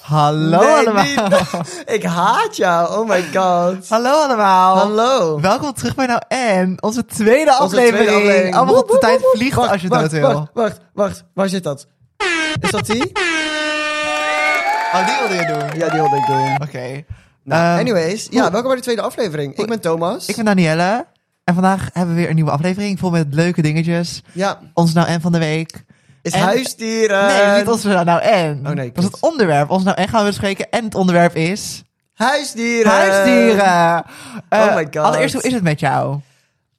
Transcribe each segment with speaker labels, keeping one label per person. Speaker 1: Hallo
Speaker 2: Nee,
Speaker 1: allemaal.
Speaker 2: niet. Ik haat jou. Oh my god.
Speaker 1: Hallo allemaal.
Speaker 2: Hallo.
Speaker 1: Welkom terug bij Nou En, onze tweede
Speaker 2: Onze
Speaker 1: aflevering.
Speaker 2: tweede aflevering.
Speaker 1: Allemaal
Speaker 2: Woep,
Speaker 1: de
Speaker 2: woep,
Speaker 1: tijd
Speaker 2: woep, woep.
Speaker 1: vliegt
Speaker 2: Wacht,
Speaker 1: als je
Speaker 2: wacht,
Speaker 1: dat wil.
Speaker 2: Wacht, wacht, wacht. Waar zit dat? Is dat die?
Speaker 1: Oh, die wilde je doen. Oké.
Speaker 2: Ja, die wilde ik doen. Nou,
Speaker 1: Ehm,
Speaker 2: Anyways, ja, welkom bij de tweede aflevering. Ik ben Thomas.
Speaker 1: Ik ben Danielle. En vandaag hebben we weer een nieuwe aflevering vol met leuke dingetjes.
Speaker 2: Ja,
Speaker 1: Ons Nou En van de week.
Speaker 2: is
Speaker 1: En-
Speaker 2: huisdieren.
Speaker 1: Nee, niet ons Nou En.
Speaker 2: Oh, nee,
Speaker 1: Dat is het onderwerp. Ons Nou En gaan we bespreken. En het onderwerp is...
Speaker 2: Huisdieren.
Speaker 1: Huisdieren. Eh,
Speaker 2: Eh, oh my god.
Speaker 1: Allereerst, hoe is het met jou?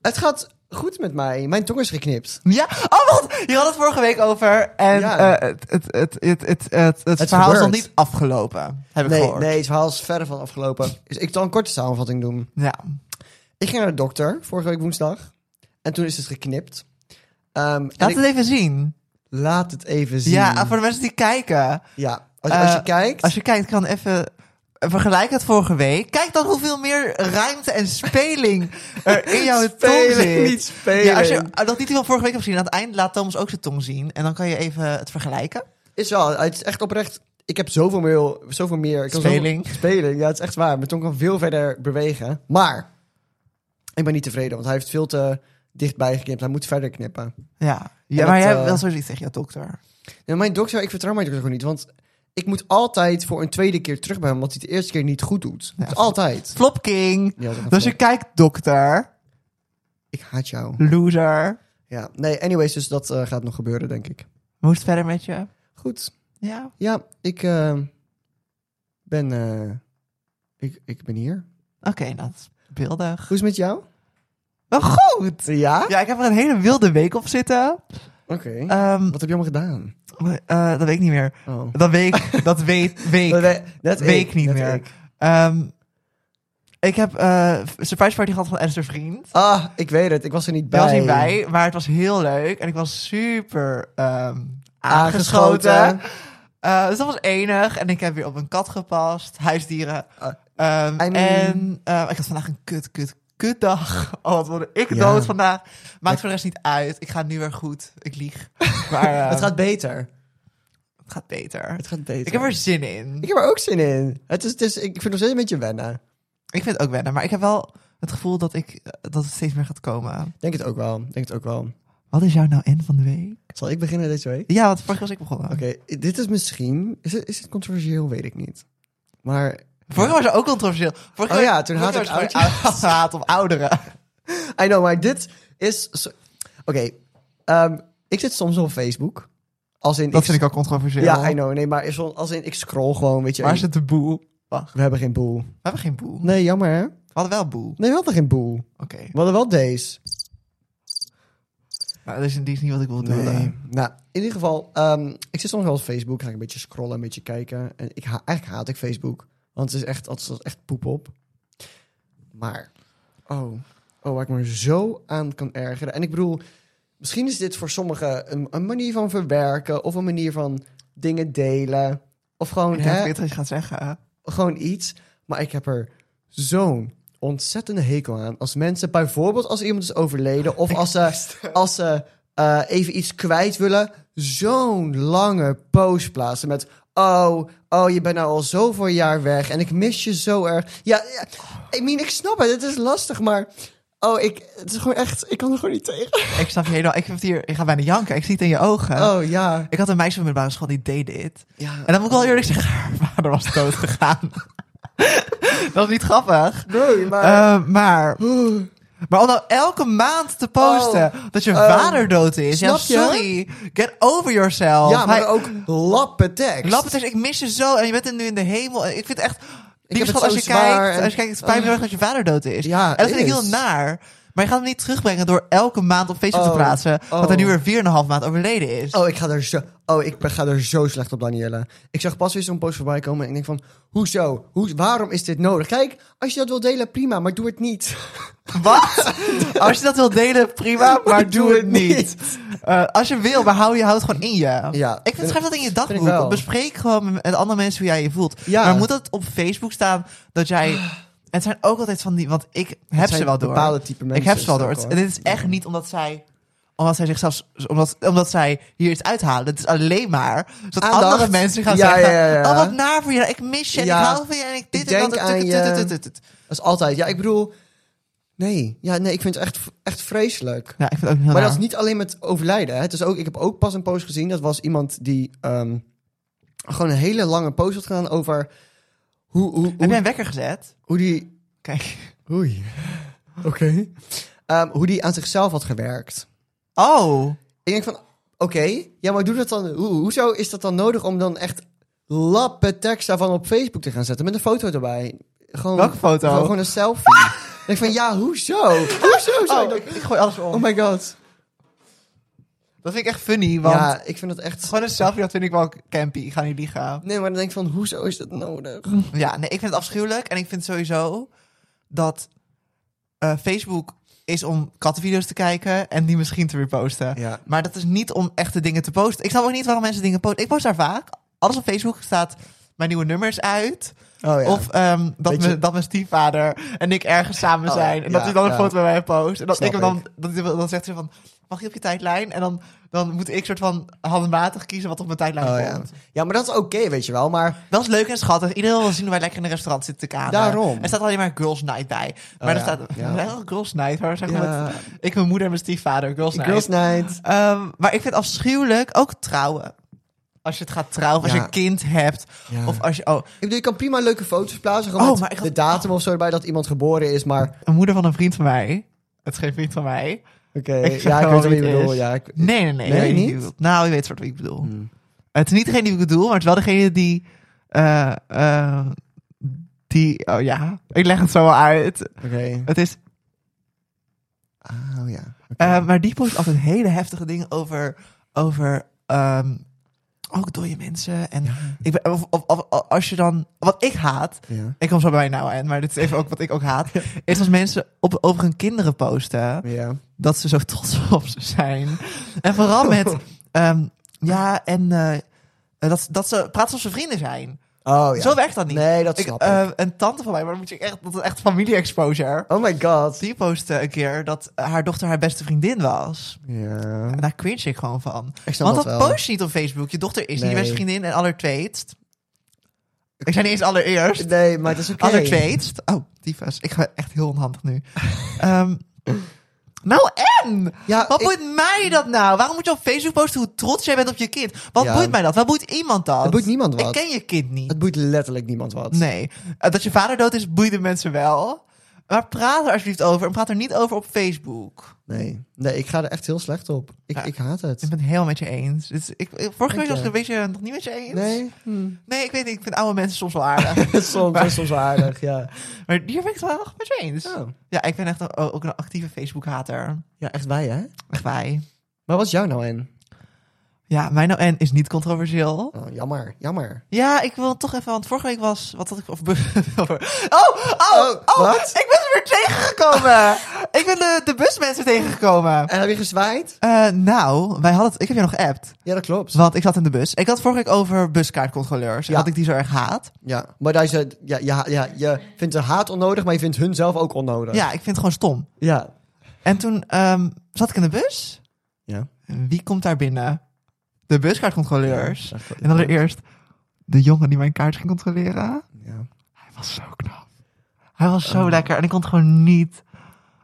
Speaker 2: Het gaat goed met mij. Mijn tong is geknipt.
Speaker 1: Ja, oh wat? Je had het vorige week over en
Speaker 2: Ja.
Speaker 1: eh, het, het, het, het, het, het, het
Speaker 2: is
Speaker 1: verhaal is nog
Speaker 2: gebeurd.
Speaker 1: niet afgelopen, heb ik
Speaker 2: Nee,
Speaker 1: gehoord.
Speaker 2: nee, het verhaal is verder van afgelopen. Dus ik zal een korte samenvatting doen.
Speaker 1: Ja.
Speaker 2: Ik ging naar de dokter vorige week woensdag. En toen is het geknipt. Ehm, en
Speaker 1: Laat
Speaker 2: ik-
Speaker 1: het even zien.
Speaker 2: laat het even zien.
Speaker 1: Ja, voor de mensen die kijken.
Speaker 2: Ja, Als, als je
Speaker 1: Eh,
Speaker 2: kijkt.
Speaker 1: Als je kijkt, kan even vergelijk het vorige week. Kijk dan hoeveel meer ruimte en speling er in jouw tong
Speaker 2: spelen,
Speaker 1: zit.
Speaker 2: niet spelen.
Speaker 1: Ja, als je dat niet van vorige week hebt gezien, aan het eind laat Thomas ook zijn tong zien. En dan kan je even het vergelijken.
Speaker 2: Is wel, het is echt oprecht. Ik heb zoveel meer. Zoveel meer ik kan zoveel-
Speaker 1: Speling.
Speaker 2: spelen. Ja, het is echt waar. Mijn tong kan veel verder bewegen. Maar ik ben niet tevreden, want hij heeft veel te dichtbij geknipt. Hij moet verder knippen.
Speaker 1: Ja, ja
Speaker 2: dat,
Speaker 1: maar jij hebt
Speaker 2: eh,
Speaker 1: wel zoiets tegen jouw dokter.
Speaker 2: Ja, mijn dokter, ik vertrouw mijn dokter gewoon niet. Want ik moet altijd voor een tweede keer terug bij hem, omdat hij het de eerste keer niet goed doet.
Speaker 1: Ja.
Speaker 2: Dus altijd.
Speaker 1: Flop King.
Speaker 2: Ja, dat is een
Speaker 1: Dus je kijkt, dokter.
Speaker 2: Ik haat jou.
Speaker 1: Loser.
Speaker 2: Ja, nee, anyways, dus dat eh, gaat nog gebeuren, denk ik.
Speaker 1: Hoe is het verder met je?
Speaker 2: Goed.
Speaker 1: Ja.
Speaker 2: Ja, ik eh, ben. eh, ik, ik ben hier.
Speaker 1: Oké, dat is beeldig.
Speaker 2: Hoe is het met jou?
Speaker 1: Wel goed!
Speaker 2: Ja?
Speaker 1: Ja, ik heb er een hele wilde week op zitten.
Speaker 2: Oké.
Speaker 1: Ehm,
Speaker 2: Wat heb je allemaal gedaan?
Speaker 1: eh, dat weet ik niet meer.
Speaker 2: Oh.
Speaker 1: Dat weet dat weet,
Speaker 2: Dat
Speaker 1: weet.
Speaker 2: we- dat
Speaker 1: week
Speaker 2: ik,
Speaker 1: niet
Speaker 2: dat
Speaker 1: meer.
Speaker 2: ik.
Speaker 1: Ehm, ik heb eh surprise party gehad van Esther Vriend.
Speaker 2: Ah, ik weet het. Ik was er niet bij.
Speaker 1: Daar was niet bij, maar het was heel leuk. En ik was super ehm,
Speaker 2: Aangeschoten.
Speaker 1: aangeschoten. Eh, dus dat was enig. En ik heb weer op een kat gepast. Huisdieren.
Speaker 2: Ah,
Speaker 1: Ehm,
Speaker 2: I mean-
Speaker 1: En eh, ik had vandaag een kut, kut, kut dag. Oh, wat word ik
Speaker 2: Ja.
Speaker 1: dood vandaag. Maakt voor de rest niet uit. Ik ga nu weer goed. Ik lieg. Maar eh,
Speaker 2: Het gaat beter.
Speaker 1: het gaat beter.
Speaker 2: Het gaat beter.
Speaker 1: Ik heb er zin in.
Speaker 2: ik heb er ook zin in. Het is, het is, ik vind het nog steeds een beetje wennen.
Speaker 1: Ik vind het ook wennen. Maar ik heb wel het gevoel dat, ik, eh, dat het steeds meer gaat komen.
Speaker 2: Denk het ook wel. Denk het ook wel.
Speaker 1: Wat is jouw nou in van de week?
Speaker 2: Zal ik beginnen deze week?
Speaker 1: Ja, want vorige was ik begonnen.
Speaker 2: Oké, dit is misschien... Is het, is het controversieel? Weet ik niet. Maar
Speaker 1: Vorige was er ook controversieel. Vorige
Speaker 2: Oh
Speaker 1: week-
Speaker 2: ja, toen
Speaker 1: vorige
Speaker 2: haat ik
Speaker 1: was gewoon haat op ouderen.
Speaker 2: I know, maar dit is... zo- Oké, ehm, ik zit soms op Facebook. Als in
Speaker 1: Dat vind ik al controversieel.
Speaker 2: Ja, I know. Nee, maar is wel- als in, ik scroll gewoon, weet je.
Speaker 1: Waar zit de boel? Wacht,
Speaker 2: We hebben geen boel.
Speaker 1: we hebben geen boel.
Speaker 2: Nee, jammer hè?
Speaker 1: We hadden wel boel.
Speaker 2: Nee, we hadden geen boel.
Speaker 1: Oké.
Speaker 2: We hadden wel deze.
Speaker 1: Nou, dat is, die is niet wat ik wil doen.
Speaker 2: Nou, in ieder geval, ehm, ik zit soms wel op Facebook. Ga ik een beetje scrollen, een beetje kijken. En ik ha eigenlijk haat ik Facebook. Want het is echt, het is echt poep op. Maar, oh, oh, waar ik me zo aan kan ergeren. En ik bedoel, misschien is dit voor sommigen een, een manier van verwerken. Of een manier van dingen delen. Of gewoon,
Speaker 1: Ik denk
Speaker 2: hè,
Speaker 1: dat ik weet wat je gaat zeggen.
Speaker 2: gewoon iets. Maar ik heb er zo'n ontzettende hekel aan. Als mensen, bijvoorbeeld als iemand is overleden... of als ze, als ze eh, even iets kwijt willen... zo'n lange post plaatsen met... Oh, oh, je bent nou al zoveel jaar weg en ik mis je zo erg. Ja, ja I mean, ik snap het, het is lastig, maar... Oh, ik, het is gewoon echt, ik kan er gewoon niet tegen.
Speaker 1: Ik snap je helemaal. Ik, vind het hier, ik ga bijna janken. Ik zie het in je ogen.
Speaker 2: Oh, ja.
Speaker 1: Ik had een meisje van de middelbare school die deed dit.
Speaker 2: ja.
Speaker 1: En dan moet ik wel eerlijk zeggen, haar vader was dood gegaan. dat is niet grappig.
Speaker 2: Nee, maar... Oh,
Speaker 1: Eh, maar, maar om nou elke maand te posten dat je vader dood is. Ja,
Speaker 2: ehm, snap je?
Speaker 1: sorry. Get over yourself.
Speaker 2: ja, maar
Speaker 1: Hij-
Speaker 2: ook lappen tekst.
Speaker 1: Lappeters, ik mis je zo. En je bent er nu in de hemel. En ik vind het echt...
Speaker 2: heb het
Speaker 1: Liefschat,
Speaker 2: zo
Speaker 1: als je
Speaker 2: zwaar
Speaker 1: kijkt...
Speaker 2: en-
Speaker 1: Als je kijkt, het spijt me heel erg dat je vader dood is.
Speaker 2: Ja,
Speaker 1: en dat vind ik
Speaker 2: is.
Speaker 1: heel naar. Maar je gaat hem niet terugbrengen door elke maand op Facebook
Speaker 2: Oh,
Speaker 1: te plaatsen... dat hij
Speaker 2: oh.
Speaker 1: nu weer 4,5 maand overleden is.
Speaker 2: Oh, ik ga er zo, oh, ik ben- ga er zo slecht op, Danielle. Ik zag pas weer zo'n post voorbij komen en ik denk van... Hoezo? Hoe, waarom is dit nodig? Kijk, als je dat wil delen, prima, maar doe het niet.
Speaker 1: Wat? als je dat wilt delen, prima, maar doe het niet. Eh, als je wil, maar hou je houdt gewoon in je.
Speaker 2: Ja.
Speaker 1: ik vind, schrijf dat in je
Speaker 2: ik wel.
Speaker 1: dagboek. Bespreek gewoon met andere mensen hoe jij je voelt.
Speaker 2: Ja.
Speaker 1: Maar moet dat op Facebook staan dat jij... Het zijn ook altijd van die... Want ik heb
Speaker 2: zijn
Speaker 1: ze wel door.
Speaker 2: bepaalde type mensen,
Speaker 1: Ik heb ze wel
Speaker 2: is
Speaker 1: door.
Speaker 2: het
Speaker 1: Het-
Speaker 2: ook,
Speaker 1: en
Speaker 2: hoor.
Speaker 1: dit is echt niet omdat zij... omdat zij zichzelf, omdat, omdat zij hier iets uithalen. Het is alleen maar zodat
Speaker 2: Aandacht.
Speaker 1: andere mensen gaan
Speaker 2: Ja,
Speaker 1: zeggen:
Speaker 2: ja, ja, ja.
Speaker 1: Oh, wat naar voor je. Ik mis je. en
Speaker 2: Ja.
Speaker 1: Ik hou van je. En ik dit
Speaker 2: Ik
Speaker 1: en dat.
Speaker 2: denk
Speaker 1: en tut,
Speaker 2: aan
Speaker 1: tut,
Speaker 2: je.
Speaker 1: tut, tut, tut.
Speaker 2: Dat is altijd. Ja, ik bedoel... Nee. Ja, nee, ik vind het echt, echt vreselijk.
Speaker 1: Ja, ik vind het ook niet heel
Speaker 2: Maar
Speaker 1: naar.
Speaker 2: dat is niet alleen met overlijden. Hè. Het is ook, ik heb ook pas een post gezien. Dat was iemand die ehm, gewoon een hele lange post had gedaan over hoe, hoe,
Speaker 1: Heb
Speaker 2: hoe,
Speaker 1: jij een wekker gezet?
Speaker 2: hoe die.
Speaker 1: Kijk.
Speaker 2: Oei. Oké. Ehm, hoe die aan zichzelf had gewerkt.
Speaker 1: Oh.
Speaker 2: Ik denk van, oké, ja, maar doe dat dan. Hoe, hoezo is dat dan nodig om dan echt lappe tekst daarvan op Facebook te gaan zetten met een foto erbij? Gewoon,
Speaker 1: Welke foto?
Speaker 2: Gewoon, gewoon een selfie. Ik denk van, ja, hoezo? Hoezo? zou je
Speaker 1: Oh,
Speaker 2: dat-
Speaker 1: ik, ik gooi alles om.
Speaker 2: Oh my god.
Speaker 1: Dat vind ik echt funny, want
Speaker 2: ja, ik vind dat echt.
Speaker 1: gewoon een selfie, dat vind ik wel campy. Ik ga niet liegen.
Speaker 2: Nee, maar dan denk ik van, hoezo is dat nodig?
Speaker 1: Ja, nee, ik vind het afschuwelijk. En ik vind sowieso dat eh, Facebook is om kattenvideo's te kijken en die misschien te reposten.
Speaker 2: Ja.
Speaker 1: Maar dat is niet om echte dingen te posten. Ik snap ook niet waarom mensen dingen posten. Ik post daar vaak. Alles op Facebook staat mijn nieuwe nummers uit.
Speaker 2: Oh ja.
Speaker 1: Of ehm, dat,
Speaker 2: Weet je-
Speaker 1: mijn, dat mijn stiefvader en ik ergens samen
Speaker 2: Oh,
Speaker 1: zijn. En dat
Speaker 2: ja,
Speaker 1: hij dan een
Speaker 2: ja.
Speaker 1: foto bij mij post. En dat
Speaker 2: Snap
Speaker 1: ik hem dan, dat hij dan zegt hij van, mag je op je tijdlijn? En dan, dan moet ik soort van handmatig kiezen wat op mijn tijdlijn
Speaker 2: Oh, ja.
Speaker 1: komt.
Speaker 2: ja, maar dat is oké, weet je wel. Maar
Speaker 1: Dat is leuk en schattig. Iedereen wil zien hoe wij lekker in een restaurant zitten te kamer.
Speaker 2: Daarom.
Speaker 1: Er staat alleen maar Girls Night bij. Maar er
Speaker 2: Oh, ja.
Speaker 1: staat
Speaker 2: Ja.
Speaker 1: wel Girls Night. Waar zeg
Speaker 2: Ja.
Speaker 1: maar met, ik, mijn moeder en mijn stiefvader. Girls Night.
Speaker 2: Girls Night.
Speaker 1: Ehm, maar ik vind het afschuwelijk ook trouwen. Als je het gaat trouwen, als
Speaker 2: Ja.
Speaker 1: je een kind hebt.
Speaker 2: Ja.
Speaker 1: Of als je... Oh,
Speaker 2: Ik bedoel, je kan prima leuke foto's plaatsen. Gewoon
Speaker 1: Oh,
Speaker 2: met
Speaker 1: maar ik had-
Speaker 2: de datum of zo erbij dat iemand geboren is. Maar
Speaker 1: een moeder van een vriend van mij. Het is geen vriend van mij.
Speaker 2: oké,
Speaker 1: Ik zeg
Speaker 2: ja, ik
Speaker 1: wel
Speaker 2: weet wat je
Speaker 1: wie het
Speaker 2: bedoelt.
Speaker 1: is.
Speaker 2: Ja, ik-
Speaker 1: Nee, nee, nee.
Speaker 2: Nee,
Speaker 1: ik weet
Speaker 2: niet? Hmm.
Speaker 1: wie ik bedoel. Nou, je weet soort wie ik bedoel. Het is niet degene die ik bedoel, maar het is wel degene die... eh, eh, die... Oh ja, ik leg het zo wel uit.
Speaker 2: Oké.
Speaker 1: Het is
Speaker 2: Oh ja. Oké.
Speaker 1: Eh, maar die post altijd hele heftige dingen over. over ehm, ook dode mensen. En ik ben, of, of, of- als je dan. Wat ik haat.
Speaker 2: ja.
Speaker 1: Ik kom zo bij mij nou aan, maar dit is even ook wat ik ook haat. Is als mensen op, over hun kinderen posten.
Speaker 2: Ja.
Speaker 1: Dat ze zo trots op ze zijn. En vooral met. ehm, ja, en. eh, dat, dat ze praten alsof ze vrienden zijn.
Speaker 2: Oh ja.
Speaker 1: Zo werkt dat niet.
Speaker 2: Nee, dat
Speaker 1: Ik,
Speaker 2: snap ik.
Speaker 1: eh, een tante van mij, maar dan moet je echt, dat is echt familie-exposure.
Speaker 2: oh my god.
Speaker 1: Die postte een keer dat haar dochter haar beste vriendin was.
Speaker 2: Ja.
Speaker 1: En daar cringe ik gewoon van.
Speaker 2: Ik snap
Speaker 1: Want dat,
Speaker 2: dat wel.
Speaker 1: post je niet op Facebook. Je dochter is niet je
Speaker 2: Nee.
Speaker 1: beste vriendin en allertweetst. Ik zei niet eens allereerst.
Speaker 2: Nee, maar dat is oké.
Speaker 1: Allertweetst. Oh, tyfus. Ik ga echt heel onhandig nu. Ehm, nou en?
Speaker 2: Ja,
Speaker 1: Wat
Speaker 2: ik-
Speaker 1: boeit mij dat nou? Waarom moet je op Facebook posten hoe trots jij bent op je kind? Wat
Speaker 2: Ja.
Speaker 1: boeit mij dat? Wat boeit iemand dat?
Speaker 2: Het boeit niemand wat.
Speaker 1: Ik ken je kind niet.
Speaker 2: Het boeit letterlijk niemand wat.
Speaker 1: Nee. Eh, dat je vader dood is, boeide mensen wel. Maar praat er alsjeblieft over. En praat er niet over op Facebook.
Speaker 2: Nee. Nee, ik ga er echt heel slecht op. Ik,
Speaker 1: Ja.
Speaker 2: ik haat het.
Speaker 1: Ik ben het helemaal met je eens. Dus ik, ik- vorige week
Speaker 2: Oké.
Speaker 1: was ik een beetje nog niet met je eens.
Speaker 2: Nee. Hm.
Speaker 1: Nee, Hmm. ik weet niet. Ik vind oude mensen soms wel aardig.
Speaker 2: soms, dat is soms wel aardig, ja.
Speaker 1: maar hier ben ik het wel nog met je eens.
Speaker 2: Oh.
Speaker 1: Ja, ik ben echt een- ook een actieve Facebook-hater.
Speaker 2: Ja, echt wij, hè?
Speaker 1: Echt wij.
Speaker 2: Maar wat is jouw nou in?
Speaker 1: Ja, mijn ON is niet controversieel.
Speaker 2: Oh, jammer, jammer.
Speaker 1: Ja, ik wil toch even, want vorige week was... Wat had ik over... over- oh, oh,
Speaker 2: Oh,
Speaker 1: oh,
Speaker 2: wat?
Speaker 1: Ik ben er weer tegengekomen. ik ben de, de busmensen tegengekomen.
Speaker 2: En heb je gezwaaid?
Speaker 1: Eh, nou, wij hadden het, ik heb je nog geappt.
Speaker 2: Ja, dat klopt.
Speaker 1: Want ik zat in de bus. Ik had vorige week over buskaartcontroleurs. En
Speaker 2: Ja.
Speaker 1: dat ik die zo erg haat.
Speaker 2: Ja, maar daar is het, ja, ja, ja, je vindt de haat onnodig, maar je vindt hun zelf ook onnodig.
Speaker 1: Ja, ik vind het gewoon stom.
Speaker 2: Ja.
Speaker 1: En toen ehm, zat ik in de bus.
Speaker 2: Ja.
Speaker 1: Wie komt daar binnen? De buskaartcontroleurs.
Speaker 2: Ja, echt-
Speaker 1: en allereerst de jongen die mijn kaart ging controleren.
Speaker 2: Ja.
Speaker 1: Hij was zo knap. Hij was
Speaker 2: Oh.
Speaker 1: zo lekker. En ik kon het gewoon niet.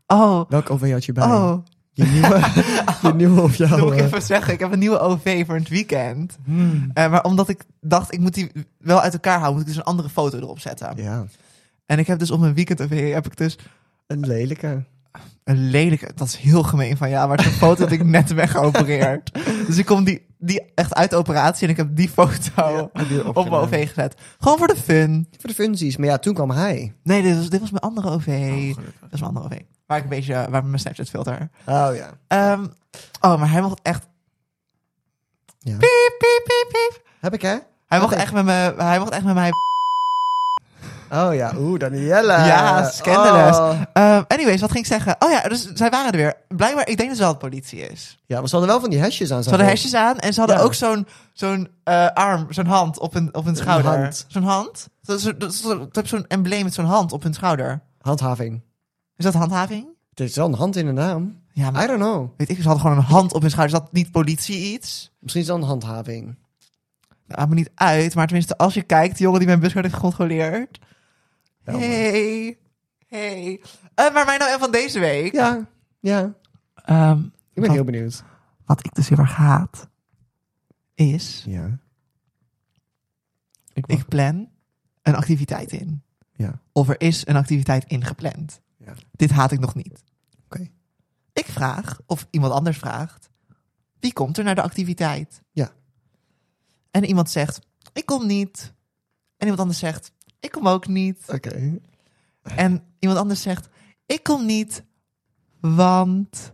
Speaker 1: Oh,
Speaker 2: Welk OV had je bij?
Speaker 1: oh.
Speaker 2: Je nieuwe, je nieuwe of
Speaker 1: Dat
Speaker 2: jouw...
Speaker 1: moet ik
Speaker 2: eh,
Speaker 1: even zeggen. Ik heb een nieuwe OV voor het weekend.
Speaker 2: Hmm.
Speaker 1: Eh, maar omdat ik dacht, ik moet die wel uit elkaar houden, moet ik dus een andere foto erop zetten.
Speaker 2: Ja,
Speaker 1: En ik heb dus op mijn weekend OV heb ik dus
Speaker 2: een lelijke.
Speaker 1: Een lelijke, dat is heel gemeen van ja, maar het is een foto dat ik net ben geopereerd. Dus ik kom die, die echt uit de operatie en ik heb die foto
Speaker 2: heb je
Speaker 1: op mijn
Speaker 2: opgenomen.
Speaker 1: OV gezet. Gewoon voor de fun.
Speaker 2: Voor de funsies, maar ja, toen kwam hij.
Speaker 1: Nee, dit was, dit was mijn
Speaker 2: Oh,
Speaker 1: andere OV. dat is mijn andere OV. Waar ik een beetje, waar met mijn Snapchat filter.
Speaker 2: Oh ja.
Speaker 1: Ehm, oh, maar hij mocht echt,
Speaker 2: ja.
Speaker 1: piep, piep, piep, piep.
Speaker 2: Heb ik, hè?
Speaker 1: Hij mocht
Speaker 2: Oké.
Speaker 1: echt met me, hij mocht echt met mij.
Speaker 2: Oh ja, oeh, Danielle.
Speaker 1: Ja, scandalous.
Speaker 2: Oh.
Speaker 1: Ehm, anyways, wat ging ik zeggen? Oh ja, dus zij waren er weer. Blijkbaar, ik denk dat het wel de politie is.
Speaker 2: Ja, maar ze hadden wel van die hesjes aan.
Speaker 1: Ze hadden hesjes aan en ze hadden
Speaker 2: Ja.
Speaker 1: ook zo'n zo'n eh, arm, zo'n hand op hun, op hun schouder.
Speaker 2: hand.
Speaker 1: Zo'n hand? Dat is, dat is- dat is zo'n embleem met zo'n hand op hun schouder.
Speaker 2: Handhaving.
Speaker 1: Is dat handhaving?
Speaker 2: Het is wel een hand in de naam.
Speaker 1: Ja,
Speaker 2: I
Speaker 1: maar
Speaker 2: don't know.
Speaker 1: weet ik, ze hadden gewoon een hand op hun schouder. Is dat niet politie iets?
Speaker 2: Misschien is dat een handhaving.
Speaker 1: Dat maakt me niet uit. Maar tenminste, als je kijkt, die jongen die mijn buskart heeft gecontroleerd.
Speaker 2: Wel, maar-
Speaker 1: hey. Hey. Eh, maar mijn nou en van deze week.
Speaker 2: Ja, ja.
Speaker 1: Ehm,
Speaker 2: Ik ben
Speaker 1: Wat?
Speaker 2: heel benieuwd.
Speaker 1: wat ik dus heel erg haat, is...
Speaker 2: Ja. Ik,
Speaker 1: Ik plan een activiteit in.
Speaker 2: Ja.
Speaker 1: Of er is een activiteit ingepland.
Speaker 2: Ja.
Speaker 1: Dit haat ik nog niet.
Speaker 2: Oké.
Speaker 1: Ik vraag, of iemand anders vraagt, wie komt er naar de activiteit?
Speaker 2: Ja.
Speaker 1: En iemand zegt, ik kom niet. En iemand anders zegt, ik kom ook niet.
Speaker 2: Oké.
Speaker 1: En iemand anders zegt, ik kom niet, want...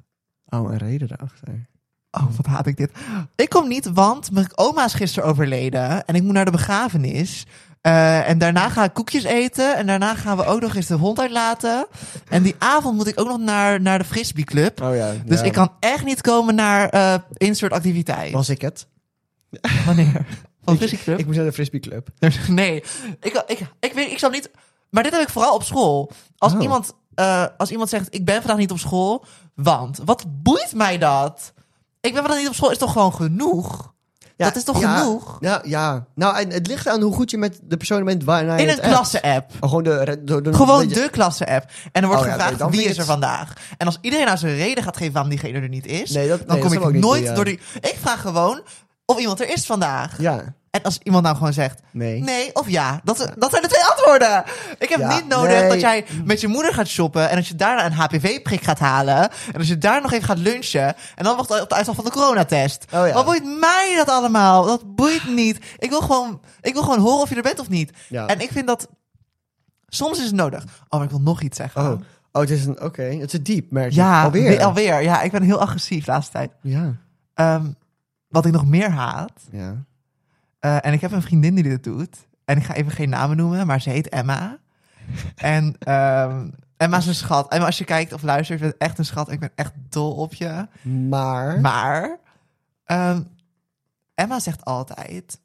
Speaker 2: Oh, een reden erachter.
Speaker 1: Oh, wat haat ik dit. Ik kom niet, want mijn oma is gisteren overleden. En ik moet naar de begrafenis. Eh, en daarna ga ik koekjes eten. En daarna gaan we ook nog eens de hond uitlaten. En die avond moet ik ook nog naar, naar de frisbeeclub.
Speaker 2: Oh ja.
Speaker 1: Dus
Speaker 2: ja.
Speaker 1: ik kan echt niet komen naar eh insert activiteit.
Speaker 2: Was ik het?
Speaker 1: Wanneer? Van frisbeeclub?
Speaker 2: Ik moest naar de frisbeeclub.
Speaker 1: Nee, ik, ik, ik, weet, ik snap niet... Maar dit heb ik vooral op school. Als,
Speaker 2: Oh.
Speaker 1: iemand, eh, als iemand zegt, ik ben vandaag niet op school, want... Wat boeit mij dat? Ik ben vandaag niet op school, is toch gewoon genoeg? Dat is toch
Speaker 2: ja,
Speaker 1: genoeg?
Speaker 2: Ja, ja. Nou, en het ligt aan hoe goed je met de persoon bent waarna je
Speaker 1: In een
Speaker 2: het appt.
Speaker 1: klasse-app.
Speaker 2: Oh, gewoon de... re- de, de
Speaker 1: Gewoon
Speaker 2: dat je-
Speaker 1: de klasse-app. En er wordt
Speaker 2: Oh ja,
Speaker 1: gevraagd
Speaker 2: nee, dan
Speaker 1: wie
Speaker 2: vind
Speaker 1: is
Speaker 2: ik
Speaker 1: er
Speaker 2: het-
Speaker 1: vandaag. En als iedereen nou zijn reden gaat geven waarom diegene er niet is,
Speaker 2: Nee, dat-
Speaker 1: dan
Speaker 2: nee,
Speaker 1: kom
Speaker 2: dat
Speaker 1: ik
Speaker 2: zou ik ook niet
Speaker 1: nooit
Speaker 2: doen, ja.
Speaker 1: door die. Ik vraag gewoon of iemand er is vandaag.
Speaker 2: Ja.
Speaker 1: En als iemand nou gewoon zegt
Speaker 2: Nee.
Speaker 1: nee of ja, dat, dat zijn de twee antwoorden. Ik heb
Speaker 2: Ja,
Speaker 1: niet nodig
Speaker 2: nee.
Speaker 1: dat jij met je moeder gaat shoppen en als je daarna een HPV-prik gaat halen en als je daar nog even gaat lunchen en dan wacht op de uitslag van de coronatest.
Speaker 2: Oh ja.
Speaker 1: Wat boeit mij dat allemaal? Dat boeit niet. Ik wil gewoon, ik wil gewoon horen of je er bent of niet.
Speaker 2: Ja.
Speaker 1: En ik vind dat soms is het nodig. Oh, maar ik wil nog iets zeggen.
Speaker 2: Oh. Oh, het is een... Oké. Het is diep, merk ik.
Speaker 1: Ja,
Speaker 2: Alweer.
Speaker 1: alweer. alweer. Ja, ik ben heel agressief de laatste tijd.
Speaker 2: Ja.
Speaker 1: Ehm, wat ik nog meer haat,
Speaker 2: Ja.
Speaker 1: eh, en ik heb een vriendin die dit doet, en ik ga even geen namen noemen, maar ze heet Emma. en ehm, Emma is een schat. Emma, als je kijkt of luistert, je bent echt een schat. Ik ben echt dol op je.
Speaker 2: Maar...
Speaker 1: Maar ehm, Emma zegt altijd,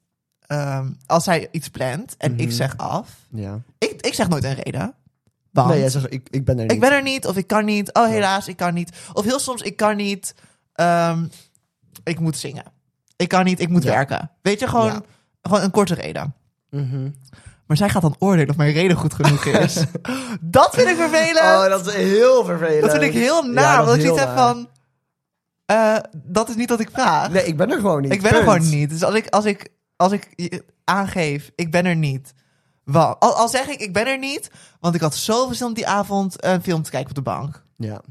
Speaker 1: ehm, als zij iets plant en ik
Speaker 2: Mhm.
Speaker 1: zeg af,
Speaker 2: Ja.
Speaker 1: ik, ik zeg nooit een reden. Want
Speaker 2: Nee, jij zegt, ik, ik ben er niet.
Speaker 1: ik ben er niet of ik kan niet. Oh, helaas, ik kan niet. Of heel soms, ik kan niet. ehm, ik moet zingen. Ik kan niet, ik moet
Speaker 2: Ja.
Speaker 1: werken. Weet je, gewoon,
Speaker 2: Ja.
Speaker 1: gewoon een korte reden.
Speaker 2: Mhm.
Speaker 1: Maar zij gaat dan oordelen of mijn reden goed genoeg is. dat vind ik vervelend.
Speaker 2: Oh, dat is heel vervelend.
Speaker 1: dat vind ik heel
Speaker 2: Ja,
Speaker 1: naar.
Speaker 2: dat
Speaker 1: want ik
Speaker 2: is
Speaker 1: zoiets
Speaker 2: heel
Speaker 1: heb
Speaker 2: naar.
Speaker 1: van... eh, dat is niet wat ik vraag.
Speaker 2: Nee, ik ben er gewoon niet.
Speaker 1: ik ben er
Speaker 2: Punt.
Speaker 1: gewoon niet. Dus als ik, als ik, als ik je- aangeef, ik ben er niet. Wel, al, al zeg ik, ik ben er niet. Want ik had zoveel zin om die avond eh, een film te kijken op de bank.
Speaker 2: Ja.
Speaker 1: Nou,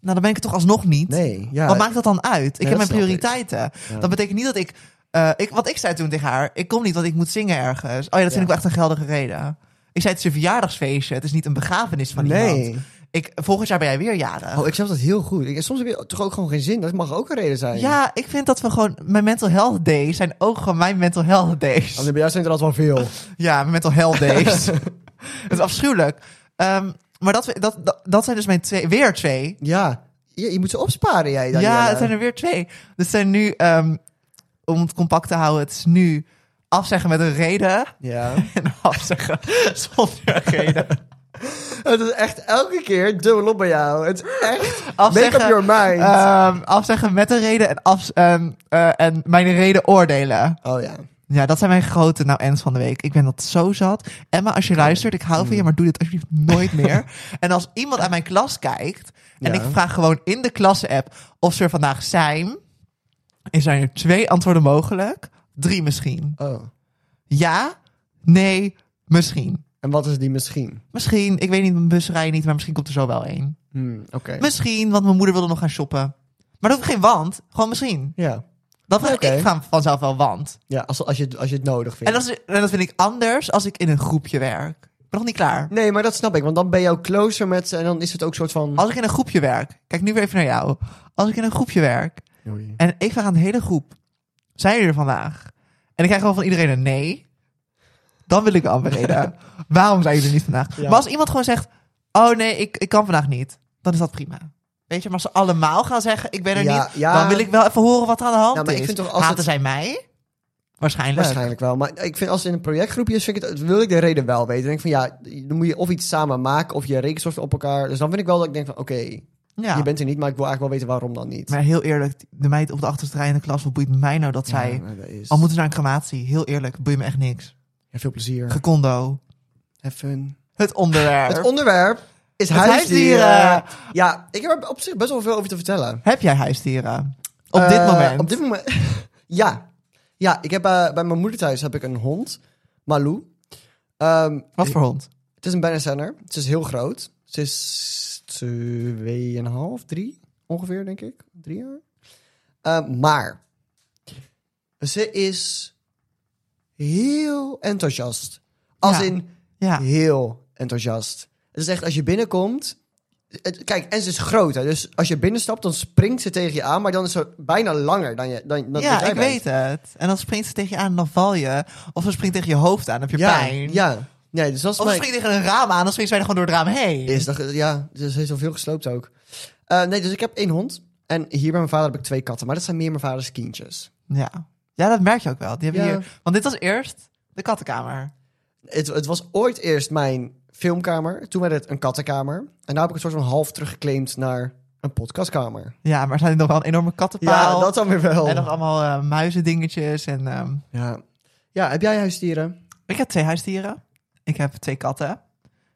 Speaker 1: dan ben ik er toch alsnog niet.
Speaker 2: Nee. Ja.
Speaker 1: Wat maakt dat dan uit? Ik
Speaker 2: Nee,
Speaker 1: heb
Speaker 2: dat
Speaker 1: mijn
Speaker 2: snap ik.
Speaker 1: prioriteiten.
Speaker 2: Ja.
Speaker 1: Dat betekent niet dat ik, eh, ik... Wat ik zei toen tegen haar, ik kom niet, want ik moet zingen ergens. Oh ja, dat vind
Speaker 2: Ja.
Speaker 1: ik wel echt een geldige reden. Ik zei, het is een verjaardagsfeestje. Het is niet een begrafenis van
Speaker 2: Nee.
Speaker 1: iemand. Ik, volgend jaar ben jij weer jarig.
Speaker 2: Oh, ik snap dat heel goed. Ik, soms heb je toch ook gewoon geen zin. Dat mag ook een reden zijn.
Speaker 1: ja, ik vind dat we gewoon... Mijn mental health days zijn ook gewoon mijn mental health days.
Speaker 2: Want bij jou zijn er altijd wel veel.
Speaker 1: Ja, mijn mental health days. het is afschuwelijk. Ehm, maar dat, dat, dat, dat zijn dus mijn twee... Weer twee.
Speaker 2: Ja. Je, je moet ze opsparen, jij. Danielle.
Speaker 1: Ja, het zijn er weer twee. Dus het zijn nu, ehm, om het compact te houden, het is nu afzeggen met een reden
Speaker 2: Ja.
Speaker 1: en afzeggen zonder reden.
Speaker 2: Het is echt elke keer dubbel op bij jou. Het is echt make up
Speaker 1: Afzeggen,
Speaker 2: your mind.
Speaker 1: ehm, afzeggen met een reden en, af, ehm, eh, en mijn reden oordelen.
Speaker 2: oh ja.
Speaker 1: Ja, dat zijn mijn grote nou ends van de week. Ik ben dat zo zat. Emma, als je luistert, ik hou van je, maar doe dit alsjeblieft nooit meer. en als iemand aan mijn klas kijkt en
Speaker 2: Ja.
Speaker 1: ik vraag gewoon in de klasse-app of ze er vandaag zijn, en zijn er twee antwoorden mogelijk. Drie misschien.
Speaker 2: Oh.
Speaker 1: Ja, nee, misschien.
Speaker 2: En wat is die misschien?
Speaker 1: Misschien, ik weet niet, mijn bus rijden niet, maar misschien komt er zo wel één.
Speaker 2: Hmm, Oké.
Speaker 1: Misschien, want mijn moeder wilde nog gaan shoppen. Maar dat hoeft geen want, gewoon misschien.
Speaker 2: Ja.
Speaker 1: Dan vraag
Speaker 2: Oké.
Speaker 1: ik van- vanzelf wel want.
Speaker 2: Ja, als, als, je, het- als je het nodig vindt.
Speaker 1: En dat, is, en dat vind ik anders als ik in een groepje werk. Ik ben nog niet klaar.
Speaker 2: Nee, maar dat snap ik. Want dan ben je ook closer met ze. En dan is het ook soort van...
Speaker 1: Als ik in een groepje werk, kijk nu weer even naar jou. Als ik in een groepje werk
Speaker 2: Oei.
Speaker 1: en ik vraag aan de hele groep, zijn jullie er vandaag? En ik krijg gewoon van iedereen een nee. Dan wil ik wel reden. Waarom zijn jullie er niet vandaag?
Speaker 2: Ja.
Speaker 1: Maar als iemand gewoon zegt, oh nee, ik, ik kan vandaag niet. Dan is dat prima. Weet je, maar als ze allemaal gaan zeggen, ik ben er
Speaker 2: Ja,
Speaker 1: niet.
Speaker 2: ja.
Speaker 1: Dan wil ik wel even horen wat er aan de hand
Speaker 2: Ja, maar
Speaker 1: is.
Speaker 2: ik vind toch als
Speaker 1: Haten
Speaker 2: het-
Speaker 1: zij mij? Waarschijnlijk.
Speaker 2: Waarschijnlijk wel. Maar ik vind als het in een projectgroepje is, vind ik het, wil ik de reden wel weten. Dan denk ik van ja, dan moet je of iets samen maken of je rekent soort op elkaar. Dus dan vind ik wel dat ik denk van oké,
Speaker 1: Ja.
Speaker 2: Je bent er niet, maar ik wil eigenlijk wel weten waarom dan niet.
Speaker 1: Maar heel eerlijk, de meid op de achterste rij in de klas, wat boeit mij nou dat zij...
Speaker 2: Ja, maar dat is...
Speaker 1: Al moeten ze naar een crematie, heel eerlijk, boeit me echt niks.
Speaker 2: Ja, veel plezier.
Speaker 1: Gecondo.
Speaker 2: Have fun.
Speaker 1: Het onderwerp.
Speaker 2: Het onderwerp is
Speaker 1: Het
Speaker 2: huisdieren.
Speaker 1: huisdieren.
Speaker 2: Ja, ik heb er op zich best wel veel over te vertellen.
Speaker 1: Heb jij huisdieren? Op dit
Speaker 2: Eh,
Speaker 1: moment?
Speaker 2: Op dit moment. ja. Ja, ik heb eh, bij mijn moeder thuis heb ik een hond, Malou. Ehm,
Speaker 1: Wat voor hond?
Speaker 2: het is een Benesenner. Ze is heel groot. Ze is 2,5, 3 ongeveer, denk ik. Drie jaar. Ehm, maar ze is heel enthousiast. Als
Speaker 1: Ja.
Speaker 2: in
Speaker 1: Ja.
Speaker 2: heel enthousiast. Het is echt, als je binnenkomt... het- kijk, en ze is groot, hè, dus als je binnenstapt, dan springt ze tegen je aan. Maar dan is ze bijna langer dan je dan, dan
Speaker 1: ja,
Speaker 2: dan jij
Speaker 1: ik
Speaker 2: bent.
Speaker 1: weet het. En dan springt ze tegen je aan en dan val je. Of ze springt tegen je hoofd aan, dan heb je
Speaker 2: ja,
Speaker 1: pijn.
Speaker 2: Ja, nee, dus dat is
Speaker 1: Of ze
Speaker 2: mijn...
Speaker 1: springt tegen een raam aan, dan springt zij er gewoon door het raam heen.
Speaker 2: Is dat, ja, dus heeft zoveel gesloopt ook. Eh, nee, dus ik heb één hond. En hier bij mijn vader heb ik twee katten. Maar dat zijn meer mijn vaders kindjes.
Speaker 1: Ja. ja, dat merk je ook wel. Die hebben
Speaker 2: Ja.
Speaker 1: hier... Want dit was eerst de kattenkamer.
Speaker 2: Het, het was ooit eerst mijn filmkamer. Toen werd het een kattenkamer. En nu heb ik het soort van half teruggeclaimd naar een podcastkamer.
Speaker 1: Ja, maar er zijn nog wel een enorme kattenpaal.
Speaker 2: Ja, dat dan weer wel.
Speaker 1: En nog allemaal eh, muizendingetjes. En, ehm,
Speaker 2: Ja. ja, heb jij huisdieren?
Speaker 1: Ik heb twee huisdieren. Ik heb twee katten.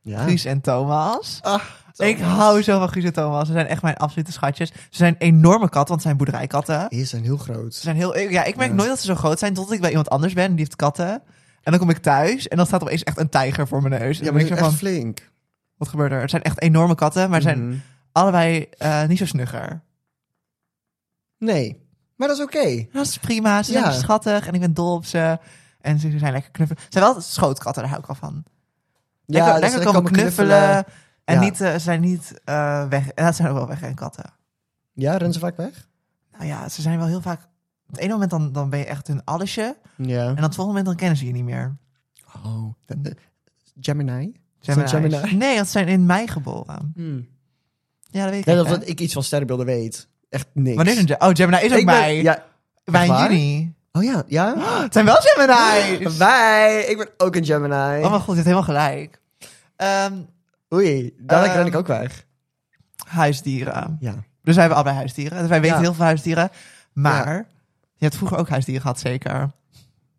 Speaker 2: Ja.
Speaker 1: Guus en Thomas.
Speaker 2: Ah,
Speaker 1: Ik hou zo van Guus en Thomas. Ze zijn echt mijn absolute schatjes. Ze zijn enorme katten, want ze zijn boerderijkatten.
Speaker 2: Die zijn heel groot.
Speaker 1: Ze zijn heel, ja, ik merk
Speaker 2: Ja.
Speaker 1: nooit dat ze zo groot zijn totdat ik bij iemand anders ben en die heeft katten. En dan kom ik thuis en dan staat opeens echt een tijger voor mijn neus. En dan
Speaker 2: Ja, maar
Speaker 1: ben
Speaker 2: die
Speaker 1: ik zo
Speaker 2: zijn
Speaker 1: van,
Speaker 2: echt flink.
Speaker 1: wat gebeurt er? Het zijn echt enorme katten, maar ze zijn
Speaker 2: Mhm.
Speaker 1: allebei eh, niet zo snugger.
Speaker 2: Nee, maar dat is oké.
Speaker 1: Dat is prima, ze
Speaker 2: Ja.
Speaker 1: zijn dus schattig en ik ben dol op ze. En ze ze zijn lekker knuffelen. Ze zijn wel schootkatten, daar hou ik wel van.
Speaker 2: Ja, dus
Speaker 1: lekker
Speaker 2: dat
Speaker 1: lekker
Speaker 2: ze
Speaker 1: komen knuffelen. En
Speaker 2: Ja.
Speaker 1: niet, eh, ze zijn niet eh, weg. En dat zijn ook wel weg en katten.
Speaker 2: Ja, rennen ze vaak weg?
Speaker 1: Nou ja, ze zijn wel heel vaak... Op het ene moment dan, dan ben je echt hun allesje.
Speaker 2: Ja.
Speaker 1: En op het volgende moment dan kennen ze je niet meer.
Speaker 2: Oh. Gemini? Zijn
Speaker 1: Gemini's.
Speaker 2: Gemini? Hmm.
Speaker 1: Nee, want ze zijn in mei geboren. Ja, dat weet ik
Speaker 2: Net
Speaker 1: niet,
Speaker 2: alsof
Speaker 1: hè?
Speaker 2: ik iets van sterrenbeelden weet. Echt niks.
Speaker 1: Wanneer zijn ze? Oh, Gemini is ook
Speaker 2: ik ben-
Speaker 1: mei.
Speaker 2: Ja.
Speaker 1: Wij
Speaker 2: echt
Speaker 1: in
Speaker 2: waar?
Speaker 1: juni.
Speaker 2: Oh ja, ja.
Speaker 1: Het zijn wel Gemini's.
Speaker 2: Wij, ik ben ook een Gemini.
Speaker 1: Oh mijn god, je hebt helemaal gelijk. Ehm,
Speaker 2: Oei, dadelijk
Speaker 1: Ehm,
Speaker 2: ren ik ook weg.
Speaker 1: huisdieren.
Speaker 2: Ja.
Speaker 1: Dus wij hebben allebei huisdieren. Dus wij weten
Speaker 2: Ja.
Speaker 1: heel veel huisdieren. Maar
Speaker 2: Ja.
Speaker 1: je hebt vroeger ook huisdieren gehad, zeker.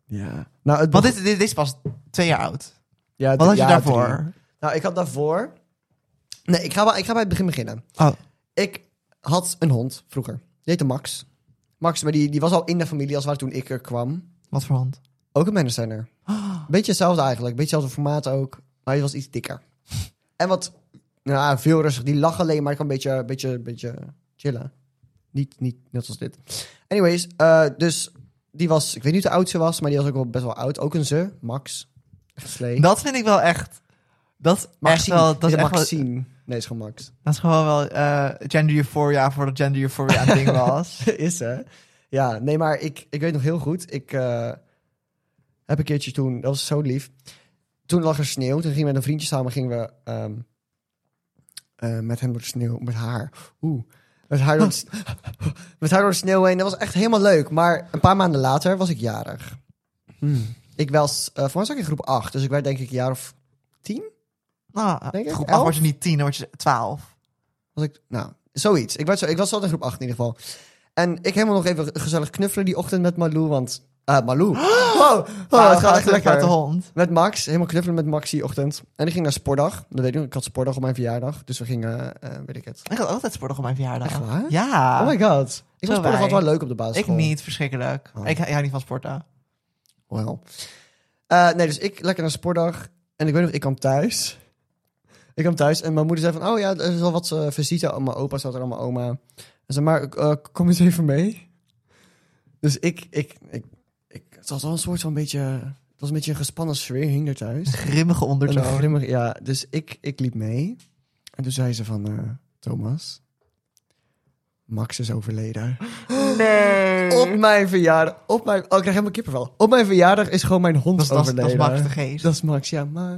Speaker 2: Ja. Nou,
Speaker 1: Want
Speaker 2: het begon-
Speaker 1: dit, dit, dit is pas twee jaar oud.
Speaker 2: ja,
Speaker 1: Wat had je
Speaker 2: ja,
Speaker 1: daarvoor?
Speaker 2: drie. Nou, ik had daarvoor... Nee, ik ga, wel- ik ga bij het begin beginnen.
Speaker 1: Oh,
Speaker 2: Ik had een hond vroeger. Die heette Max. Max, maar die, die was al in de familie als waar toen ik er kwam.
Speaker 1: wat voor hond?
Speaker 2: Ook een Mannecenner. Beetje hetzelfde eigenlijk. Beetje hetzelfde formaat ook. Maar hij was iets dikker. En wat... Nou, veel rustig. Die lag alleen, maar ik kan een beetje, beetje, beetje chillen. Niet, niet net als dit. Anyways, eh, dus die was... Ik weet niet hoe oud ze was, maar die was ook wel best wel oud. Ook een ze, Max. Echt slee.
Speaker 1: Dat vind ik wel echt... Dat is echt
Speaker 2: Maxine.
Speaker 1: wel... Dat is,
Speaker 2: Ja,
Speaker 1: echt wel,
Speaker 2: Maxine. Nee, is gewoon Max.
Speaker 1: dat is gewoon wel eh, gender euphoria voordat gender euphoria een ding was.
Speaker 2: is hè? Ja, nee, maar ik, ik weet nog heel goed. Ik eh, heb een keertje toen, dat was zo lief. Toen lag er sneeuw. Toen gingen we met een vriendje samen, gingen we ehm, eh, met hem door de sneeuw, met haar. Oeh. Met haar, door de, s- met haar door de sneeuw heen. Dat was echt helemaal leuk. Maar een paar maanden later was ik jarig. Ik was, eh voor mij zat ik in groep 8. Dus ik werd denk ik een jaar of
Speaker 1: Nou,
Speaker 2: Denk ik,
Speaker 1: groep
Speaker 2: elf? Oh,
Speaker 1: acht word je niet tien, dan word je twaalf.
Speaker 2: Was ik, nou, zoiets. Ik, werd zo, ik was altijd in groep 8 in ieder geval. En ik helemaal nog even gezellig knuffelen die ochtend met Malou, want... eh Malou.
Speaker 1: Ah,
Speaker 2: Wow, wow, het gaat
Speaker 1: uit
Speaker 2: echt
Speaker 1: de
Speaker 2: lekker.
Speaker 1: hond.
Speaker 2: Met Max, helemaal knuffelen met Max die ochtend. En ik ging naar sportdag. Dat weet ik nog, ik had sportdag op mijn verjaardag. Dus we gingen, eh, weet ik het.
Speaker 1: Ik had altijd sportig op mijn verjaardag.
Speaker 2: Echt waar?
Speaker 1: Ja.
Speaker 2: Oh my god. Ik
Speaker 1: Ah. Zo
Speaker 2: vond sportdag
Speaker 1: wij.
Speaker 2: altijd wel leuk op de basis.
Speaker 1: ik niet, verschrikkelijk.
Speaker 2: Oh.
Speaker 1: Ik, ik hou niet van sporten.
Speaker 2: Wel. Eh, nee, dus ik lekker naar sportdag. En ik weet nog, ik kwam thuis. Ik kwam thuis en mijn moeder zei van... Oh ja, er is wel wat eh visite. aan Mijn opa zat er aan mijn oma. En ze zei, maar eh, kom eens even mee. Dus ik, ik, ik, ik... Het was wel een soort van beetje... Het was een beetje een gespannen sfeer, hing er thuis.
Speaker 1: Grimmige
Speaker 2: Een
Speaker 1: ondertoon.
Speaker 2: grimmig, ja. Dus ik, ik liep mee. En toen zei ze van... eh, Thomas, Max is overleden.
Speaker 1: Nee.
Speaker 2: Op mijn verjaardag... Op mijn, oh, ik krijg helemaal kippenvel. Op mijn verjaardag is gewoon mijn hond
Speaker 1: Dat is, dat, is-
Speaker 2: overleden.
Speaker 1: dat is Max de Geest.
Speaker 2: Dat is Max, ja, Max.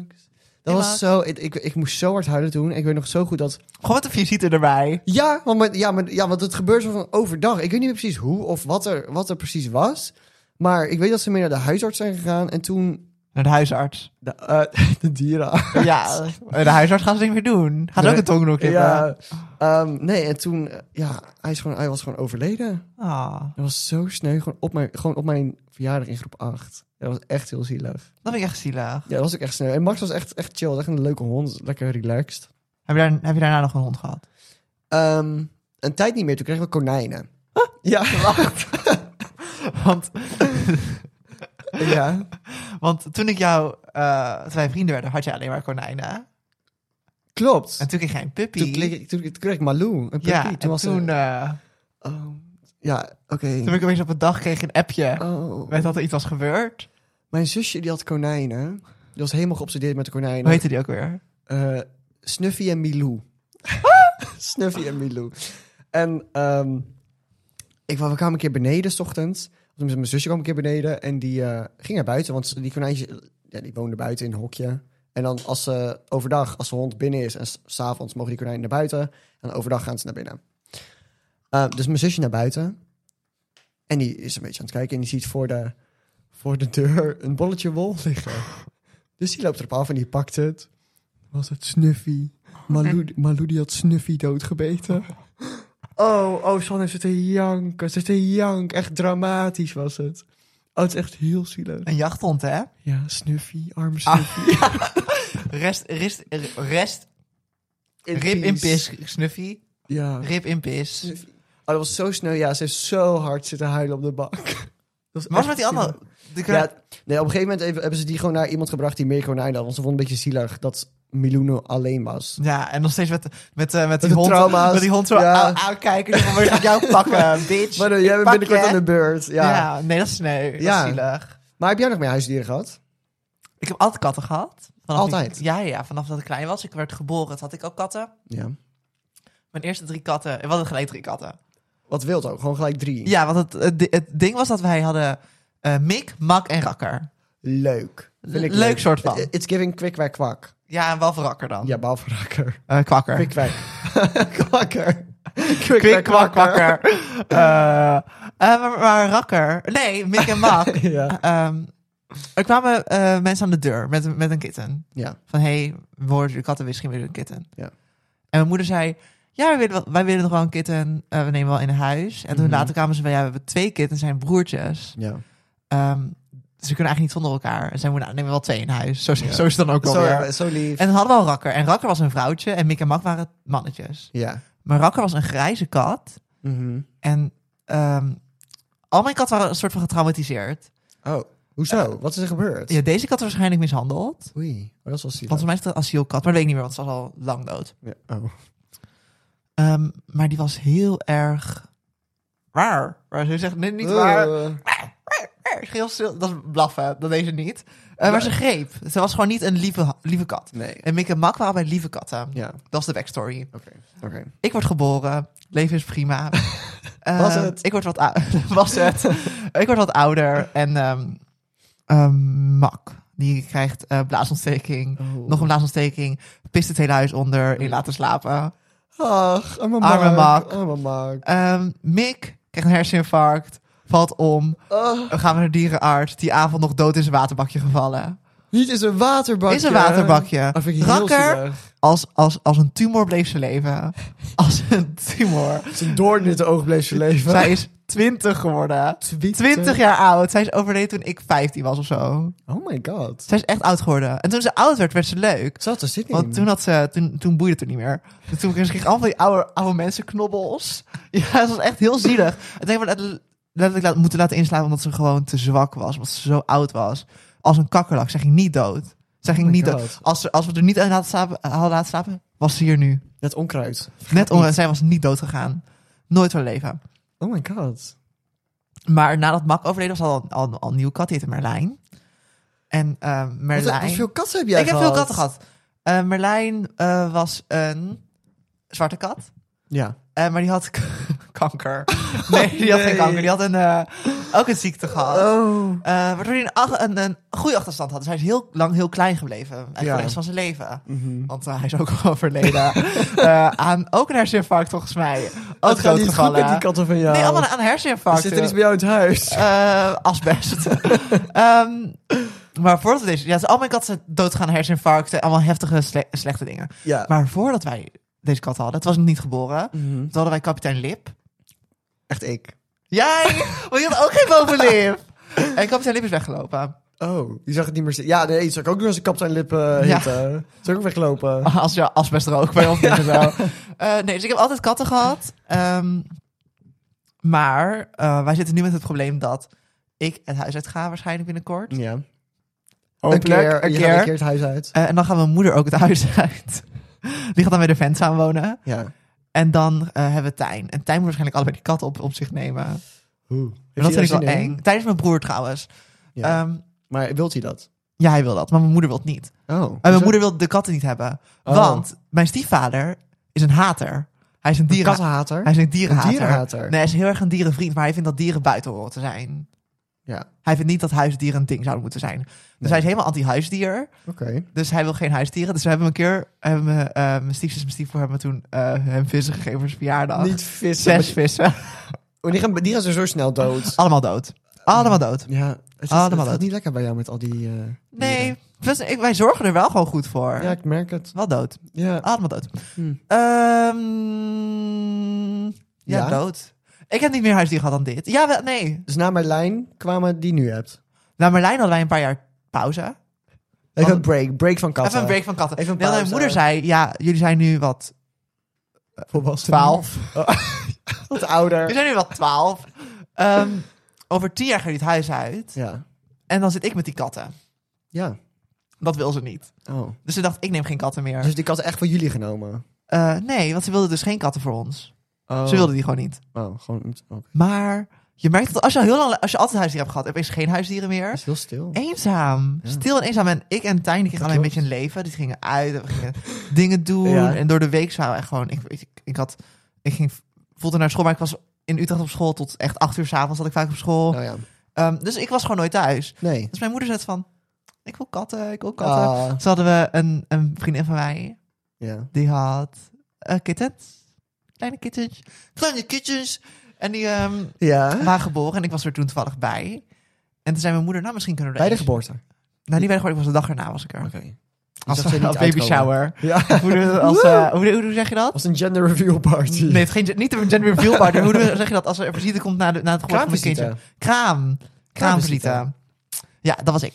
Speaker 1: Hey,
Speaker 2: Dat was
Speaker 1: Max.
Speaker 2: zo... Ik, ik, ik moest zo hard huilen toen. Ik weet nog zo goed dat...
Speaker 1: Gewoon wat een visite erbij.
Speaker 2: Ja, want, mijn- ja, maar, ja, want het gebeurde zo van overdag. Ik weet niet meer precies hoe of wat er, wat er precies was. Maar ik weet dat ze mee naar de huisarts zijn gegaan. En toen...
Speaker 1: Naar de huisarts.
Speaker 2: De, eh, de dieren.
Speaker 1: Ja, eh, de huisarts gaat het niet meer doen. Gaat
Speaker 2: Nee.
Speaker 1: ook een tong knippen.
Speaker 2: Ja, ehm, nee, en toen, eh, ja, hij, is gewoon, hij was gewoon overleden.
Speaker 1: Ah,
Speaker 2: Dat was zo sneu, gewoon op mijn, gewoon op mijn verjaardag in groep 8. Dat was echt heel zielig.
Speaker 1: dat vind ik echt zielig.
Speaker 2: Ja, dat was ook echt sneu. En Max was echt, echt chill, echt een leuke hond, lekker relaxed.
Speaker 1: Heb je, daar, heb je daarna nog een hond gehad?
Speaker 2: Ehm, een tijd niet meer, toen kregen we konijnen.
Speaker 1: Ah.
Speaker 2: Ja,
Speaker 1: Want,
Speaker 2: ja.
Speaker 1: want toen ik jou, eh toen wij vrienden werden, had je alleen maar konijnen.
Speaker 2: Klopt.
Speaker 1: En toen kreeg jij een puppy.
Speaker 2: Toen, kreeg ik- toen, toen kreeg ik Malou, een puppy.
Speaker 1: ja,
Speaker 2: toen
Speaker 1: en
Speaker 2: was ze-
Speaker 1: toen, eh,
Speaker 2: Oh, ja, oké.
Speaker 1: toen ik opeens op een dag kreeg een appje
Speaker 2: Oh.
Speaker 1: met dat er iets was gebeurd.
Speaker 2: Mijn zusje die had konijnen. Die was helemaal geobsedeerd met de
Speaker 1: Hoe
Speaker 2: konijnen.
Speaker 1: heette die ook weer?
Speaker 2: Eh, Snuffy en Milou. Snuffy en Milou. En ehm, ik kwam, we kwamen een keer beneden 's ochtends. Of tenminste, Mijn zusje kwam een keer beneden en die eh, ging naar buiten. Want die konijntjes, ja, die woonden buiten in een hokje. En dan als ze overdag, als de hond binnen is en s- s'avonds mogen die konijnen naar buiten. En overdag gaan ze naar binnen. Eh, dus mijn zusje naar buiten. En die is een beetje aan het kijken en die ziet voor de, voor de deur een bolletje wol liggen. Dus die loopt erop af en die pakt het was het Snuffy. Malou, Malou die had Snuffy doodgebeten. Oh, oh, Sanne zit te janken. Ze zit te janken. Echt dramatisch was het. Oh, het is echt heel zielig.
Speaker 1: Een jachthond, hè?
Speaker 2: Ja, Snuffy, arme Snuffy.
Speaker 1: Rest, rest, rest, rip in pis, Snuffy.
Speaker 2: Ja.
Speaker 1: Rip in pis. Maar
Speaker 2: Snuffy. Oh, dat was zo snel. Ja, ze heeft zo hard zitten huilen op de bank. Dat
Speaker 1: wat was
Speaker 2: was echt
Speaker 1: met die
Speaker 2: zielig.
Speaker 1: andere? Die kon-
Speaker 2: Ja, nee, op een gegeven moment even- hebben ze die gewoon naar iemand gebracht die meer konijnen had. Want ze vond het een beetje zielig dat Miluno alleen was.
Speaker 1: Ja, en nog steeds met, met, eh, met, die,
Speaker 2: de
Speaker 1: hond,
Speaker 2: trauma's,
Speaker 1: met die hond zo
Speaker 2: ja.
Speaker 1: aan- aankijken. Die van, "Waar ga ik jou pakken, bitch.
Speaker 2: Maar eh,
Speaker 1: Ik
Speaker 2: jij bent
Speaker 1: pak
Speaker 2: binnenkort
Speaker 1: je."
Speaker 2: aan de beurt.
Speaker 1: Ja.
Speaker 2: ja.
Speaker 1: nee, dat is sneu. Dat
Speaker 2: Ja.
Speaker 1: is zielig.
Speaker 2: Maar heb jij nog meer huisdieren gehad?
Speaker 1: Ik heb altijd katten gehad. Vanaf
Speaker 2: Altijd?
Speaker 1: ik- ja, ja, vanaf dat ik klein was. Ik werd geboren, toen had ik ook katten.
Speaker 2: Ja.
Speaker 1: Mijn eerste drie katten, we hadden gelijk drie katten.
Speaker 2: Wat wild ook, gewoon gelijk drie.
Speaker 1: Ja, want het, het, het ding was dat wij hadden eh Mik, Mak en Rakker.
Speaker 2: Leuk. Vind ik
Speaker 1: Leuk soort van.
Speaker 2: It- It's giving kwik kwak.
Speaker 1: Ja, en wel voor Rakker dan.
Speaker 2: Ja, behalve rakker.
Speaker 1: Eh, kwakker.
Speaker 2: Kwik-kwak. kwakker.
Speaker 1: Kwik, kwak,
Speaker 2: Kwik-kwak-kwakker.
Speaker 1: kwakker. Eh, eh, maar, maar Rakker... Nee, Mik en Mak.
Speaker 2: Ja.
Speaker 1: Ehm, er kwamen eh, mensen aan de deur met, een- met een kitten.
Speaker 2: ja.
Speaker 1: Van, hé, hey, worden jullie katten misschien weer een kitten?
Speaker 2: Ja.
Speaker 1: En mijn moeder zei, ja, wij willen, wel- wij willen nog wel een kitten. eh, we nemen wel in huis. En toen
Speaker 2: Mhm.
Speaker 1: later kwamen ze bij, ja, we hebben twee kittens, zijn broertjes.
Speaker 2: Ja.
Speaker 1: Ehm, ze kunnen eigenlijk niet zonder elkaar. En zij moeder, nou, nemen we wel twee in huis. Zo, zo is het dan ook wel
Speaker 2: Zo,
Speaker 1: weer.
Speaker 2: ja, zo lief.
Speaker 1: En dan hadden we al Rakker. En Rakker was een vrouwtje en Mick en Mak waren mannetjes.
Speaker 2: Ja.
Speaker 1: Maar Rakker was een grijze kat.
Speaker 2: Mhm.
Speaker 1: En ehm, al mijn katten waren een soort van getraumatiseerd.
Speaker 2: Oh, hoezo? Wat is er gebeurd?
Speaker 1: Ja, deze kat was waarschijnlijk mishandeld.
Speaker 2: Oei, oh, dat is wel zielig.
Speaker 1: Volgens mij is het een asielkat, maar dat weet ik niet meer, want ze was al lang dood.
Speaker 2: Ja. Oh.
Speaker 1: Ehm, maar die was heel erg raar. Maar ze zegt nee, niet waar.
Speaker 2: Eh,
Speaker 1: Heel stil. Dat is blaffen, dat deed ze niet. Eh,
Speaker 2: Ja.
Speaker 1: Maar ze greep. Ze was gewoon niet een lieve, ha- lieve kat.
Speaker 2: nee.
Speaker 1: En Mick en Mak waren bij lieve katten.
Speaker 2: Ja,
Speaker 1: Dat is de backstory.
Speaker 2: oké. Oké.
Speaker 1: Ik word geboren. Leven is prima. Eh,
Speaker 2: Was het?
Speaker 1: Ik word wat ouder. was het? ik word wat ouder. En ehm, ehm, Mak, die krijgt eh, blaasontsteking.
Speaker 2: Oh.
Speaker 1: Nog een blaasontsteking. Pist het hele huis onder. In laten slapen.
Speaker 2: Ach, arme Mark.
Speaker 1: Arme Mark.
Speaker 2: Arme Mark.
Speaker 1: Ehm, Mick krijgt een herseninfarct. Valt om.
Speaker 2: Ah,
Speaker 1: We gaan naar de dierenarts. Die avond nog dood in zijn waterbakje gevallen.
Speaker 2: niet is een waterbakje.
Speaker 1: Is een waterbakje.
Speaker 2: Dat vind ik heel
Speaker 1: Rakker,
Speaker 2: zielig.
Speaker 1: als, als, als een tumor bleef ze leven. Als een tumor.
Speaker 2: Zijn doorn in het oog bleef ze leven.
Speaker 1: Zij is 20 geworden. 20 jaar oud. Zij is overleden toen ik 15 was of zo.
Speaker 2: Oh my god.
Speaker 1: Zij is echt oud geworden. En toen ze oud werd, werd ze leuk.
Speaker 2: Zat er zit
Speaker 1: Want toen, had ze, toen, toen boeide het er niet meer. Dus toen kreeg ik allemaal van die oude, oude mensen knobbels. Ja, dat was echt heel zielig. En denk maar dat letterlijk laat, moeten laten inslaan omdat ze gewoon te zwak was. Omdat ze zo oud was. Als een kakkerlak. Zij ging niet dood. Zij ging
Speaker 2: Oh my
Speaker 1: niet
Speaker 2: God.
Speaker 1: dood. Als, ze- als we er niet aan hadden slapen, hadden laten slapen, was ze hier nu.
Speaker 2: Het onkruid.
Speaker 1: Net om, zij was niet dood gegaan. Nooit haar leven.
Speaker 2: Oh my god.
Speaker 1: Maar nadat Mak overleden was, al, al, al een nieuwe kat, die heette Merlijn. En ehm,
Speaker 2: Wat,
Speaker 1: Merlijn...
Speaker 2: wat veel katten heb jij
Speaker 1: ik heb veel katten gehad. Eh, Merlijn eh, was een zwarte kat.
Speaker 2: Ja.
Speaker 1: Eh, maar die had k- kanker. Nee, die had
Speaker 2: Oh, Nee.
Speaker 1: geen kanker. Die had een, eh, ook een ziekte gehad.
Speaker 2: Oh.
Speaker 1: Eh, waardoor hij een, ach- een, een groeiachterstand had. Dus hij is heel lang heel klein gebleven. Eigenlijk
Speaker 2: Ja. Mhm.
Speaker 1: de rest van zijn leven. Want eh, hij is ook al verleden. Eh, aan ook een herseninfarct volgens mij. Ook
Speaker 2: Wat gaat niet goed
Speaker 1: doodgevallen.
Speaker 2: met die katten van jou?
Speaker 1: Nee, allemaal aan
Speaker 2: Er eh,
Speaker 1: dus herseninfarct.
Speaker 2: Zit er iets bij jou in het huis?
Speaker 1: Eh, asbest. Eh, Ehm, Maar voordat we deze... Ja, ze- al mijn katten zijn doodgaan, herseninfarcten, allemaal heftige, sle- slechte dingen.
Speaker 2: Ja.
Speaker 1: Maar voordat wij deze kat hadden, het was nog niet geboren, toen
Speaker 2: Mhm.
Speaker 1: hadden wij kapitein Lip.
Speaker 2: Echt ik.
Speaker 1: Jij, want je had ook geen bovenlip. En kapitein Lip is weggelopen.
Speaker 2: Oh, die zag het niet meer zitten. Ja, nee, die zag ik ook nog als een kap zijn lippen eh,
Speaker 1: Ja. Ah.
Speaker 2: hitte. Zou ik ook weglopen.
Speaker 1: Als je asbest rook bij ons is en zo. Eh, nee, dus ik heb altijd katten gehad. Ehm, maar eh, wij zitten nu met het probleem dat ik het huis uit ga waarschijnlijk binnenkort.
Speaker 2: Ja. Een
Speaker 1: Hopelijk,
Speaker 2: keer,
Speaker 1: een
Speaker 2: je gaat een
Speaker 1: keer.
Speaker 2: keer het huis uit.
Speaker 1: Eh, en dan gaat mijn moeder ook het huis uit. Die gaat dan bij de vent samenwonen.
Speaker 2: Ja.
Speaker 1: En dan eh, hebben we Tijn. En Tijn moet waarschijnlijk allebei die kat op, op zich nemen.
Speaker 2: Oeh.
Speaker 1: En dat vind ik wel eng. Tijn is mijn broer trouwens.
Speaker 2: Ja.
Speaker 1: Ja.
Speaker 2: Maar wilt hij dat?
Speaker 1: ja, hij wil dat, maar mijn moeder wil het niet.
Speaker 2: Oh.
Speaker 1: En mijn moeder wil de katten niet hebben.
Speaker 2: Oh.
Speaker 1: Want mijn stiefvader is een hater. Hij is een
Speaker 2: Een
Speaker 1: dieren...
Speaker 2: kattenhater?
Speaker 1: Hij is een dierenhater.
Speaker 2: Een dierenhater?
Speaker 1: Nee, hij is heel erg een dierenvriend, maar hij vindt dat dieren buiten horen te zijn.
Speaker 2: Ja,
Speaker 1: Hij vindt niet dat huisdieren een ding zouden moeten zijn. Dus
Speaker 2: Nee.
Speaker 1: hij is helemaal anti-huisdier.
Speaker 2: oké.
Speaker 1: Dus hij wil geen huisdieren. Dus we hebben hem een keer, hebben, we, eh, mijn stiefzus en mijn stiefvoer hebben toen eh, hem vissen gegeven voor zijn verjaardag.
Speaker 2: Niet vissen.
Speaker 1: Zes Ah.
Speaker 2: maar
Speaker 1: vissen.
Speaker 2: Die, die gaan, die gaan zo snel dood.
Speaker 1: Allemaal dood. Allemaal dood.
Speaker 2: Ja, het, is,
Speaker 1: Allemaal
Speaker 2: het gaat
Speaker 1: dood.
Speaker 2: niet lekker bij jou met al die... eh,
Speaker 1: Nee,
Speaker 2: dieren.
Speaker 1: dus ik- wij zorgen er wel gewoon goed voor.
Speaker 2: Ja, ik merk het.
Speaker 1: Wel dood.
Speaker 2: Ja.
Speaker 1: Allemaal dood.
Speaker 2: Hm.
Speaker 1: Ehm, ja,
Speaker 2: Ja?
Speaker 1: dood. Ik heb niet meer huisdier gehad dan dit. Ja, wel, nee.
Speaker 2: Dus na mijn lijn kwamen die nu hebt.
Speaker 1: Na Merlijn hadden wij een paar jaar pauze.
Speaker 2: Even
Speaker 1: Want-
Speaker 2: een Oh, break. Break van katten.
Speaker 1: Even een break van katten.
Speaker 2: Even een
Speaker 1: Nee, want
Speaker 2: pauze.
Speaker 1: Mijn moeder zei, ja, jullie zijn nu wat
Speaker 2: Volwassen.
Speaker 1: twaalf.
Speaker 2: Wat ouder.
Speaker 1: Jullie zijn nu wat twaalf. Ehm, over tien jaar gaan jullie het huis uit.
Speaker 2: Ja.
Speaker 1: En dan zit ik met die katten.
Speaker 2: Ja.
Speaker 1: Dat wil ze niet.
Speaker 2: Oh.
Speaker 1: Dus ze dacht, ik neem geen katten meer.
Speaker 2: Dus die katten echt van jullie genomen?
Speaker 1: Eh, nee, want ze wilde dus geen katten voor ons.
Speaker 2: Oh.
Speaker 1: Ze wilde die gewoon niet.
Speaker 2: Oh, gewoon... niet- oké.
Speaker 1: Maar je merkt dat als je, al heel lang, als je altijd huisdieren hebt gehad, opeens geen huisdieren meer.
Speaker 2: Het is heel stil.
Speaker 1: Eenzaam. Stil en eenzaam. En ik en Tijn, die kregen allemaal een
Speaker 2: klopt.
Speaker 1: beetje een leven. Die gingen uit en we gingen dingen doen.
Speaker 2: Ja.
Speaker 1: En door de week zouden we echt gewoon... Ik, ik, ik, had, ik ging voelde naar school, maar ik was in Utrecht op school. Tot echt acht uur s'avonds zat ik vaak op school.
Speaker 2: Nou ja.
Speaker 1: Ehm, dus ik was gewoon nooit thuis.
Speaker 2: Nee.
Speaker 1: Dus mijn moeder zei van... Ik wil katten, ik wil katten.
Speaker 2: Ah.
Speaker 1: Dus hadden we een, een vriendin van mij.
Speaker 2: Ja.
Speaker 1: Die had eh, kittens. Kleine kittens. Kleine kittens. En die ehm,
Speaker 2: Ja.
Speaker 1: waren geboren. En ik was er toen toevallig bij. En toen zei mijn moeder, nou misschien kunnen we er
Speaker 2: Bij de
Speaker 1: eens-
Speaker 2: geboorte.
Speaker 1: nou, niet bij de geboorte, ik was de dag erna was ik er. Als
Speaker 2: zag ze
Speaker 1: een
Speaker 2: niet
Speaker 1: baby
Speaker 2: uitkomen.
Speaker 1: shower.
Speaker 2: Ja.
Speaker 1: Hoe, doen we- als, eh, hoe, hoe, hoe zeg je dat?
Speaker 2: Als een gender reveal party.
Speaker 1: Nee, het is geen, niet een gender reveal party. Hoe doen we- zeg je dat als er visite komt na, de, na het geboorte van een
Speaker 2: Kraamvisite.
Speaker 1: kindje? Kraam. Kraamvisite. Ja, dat was ik.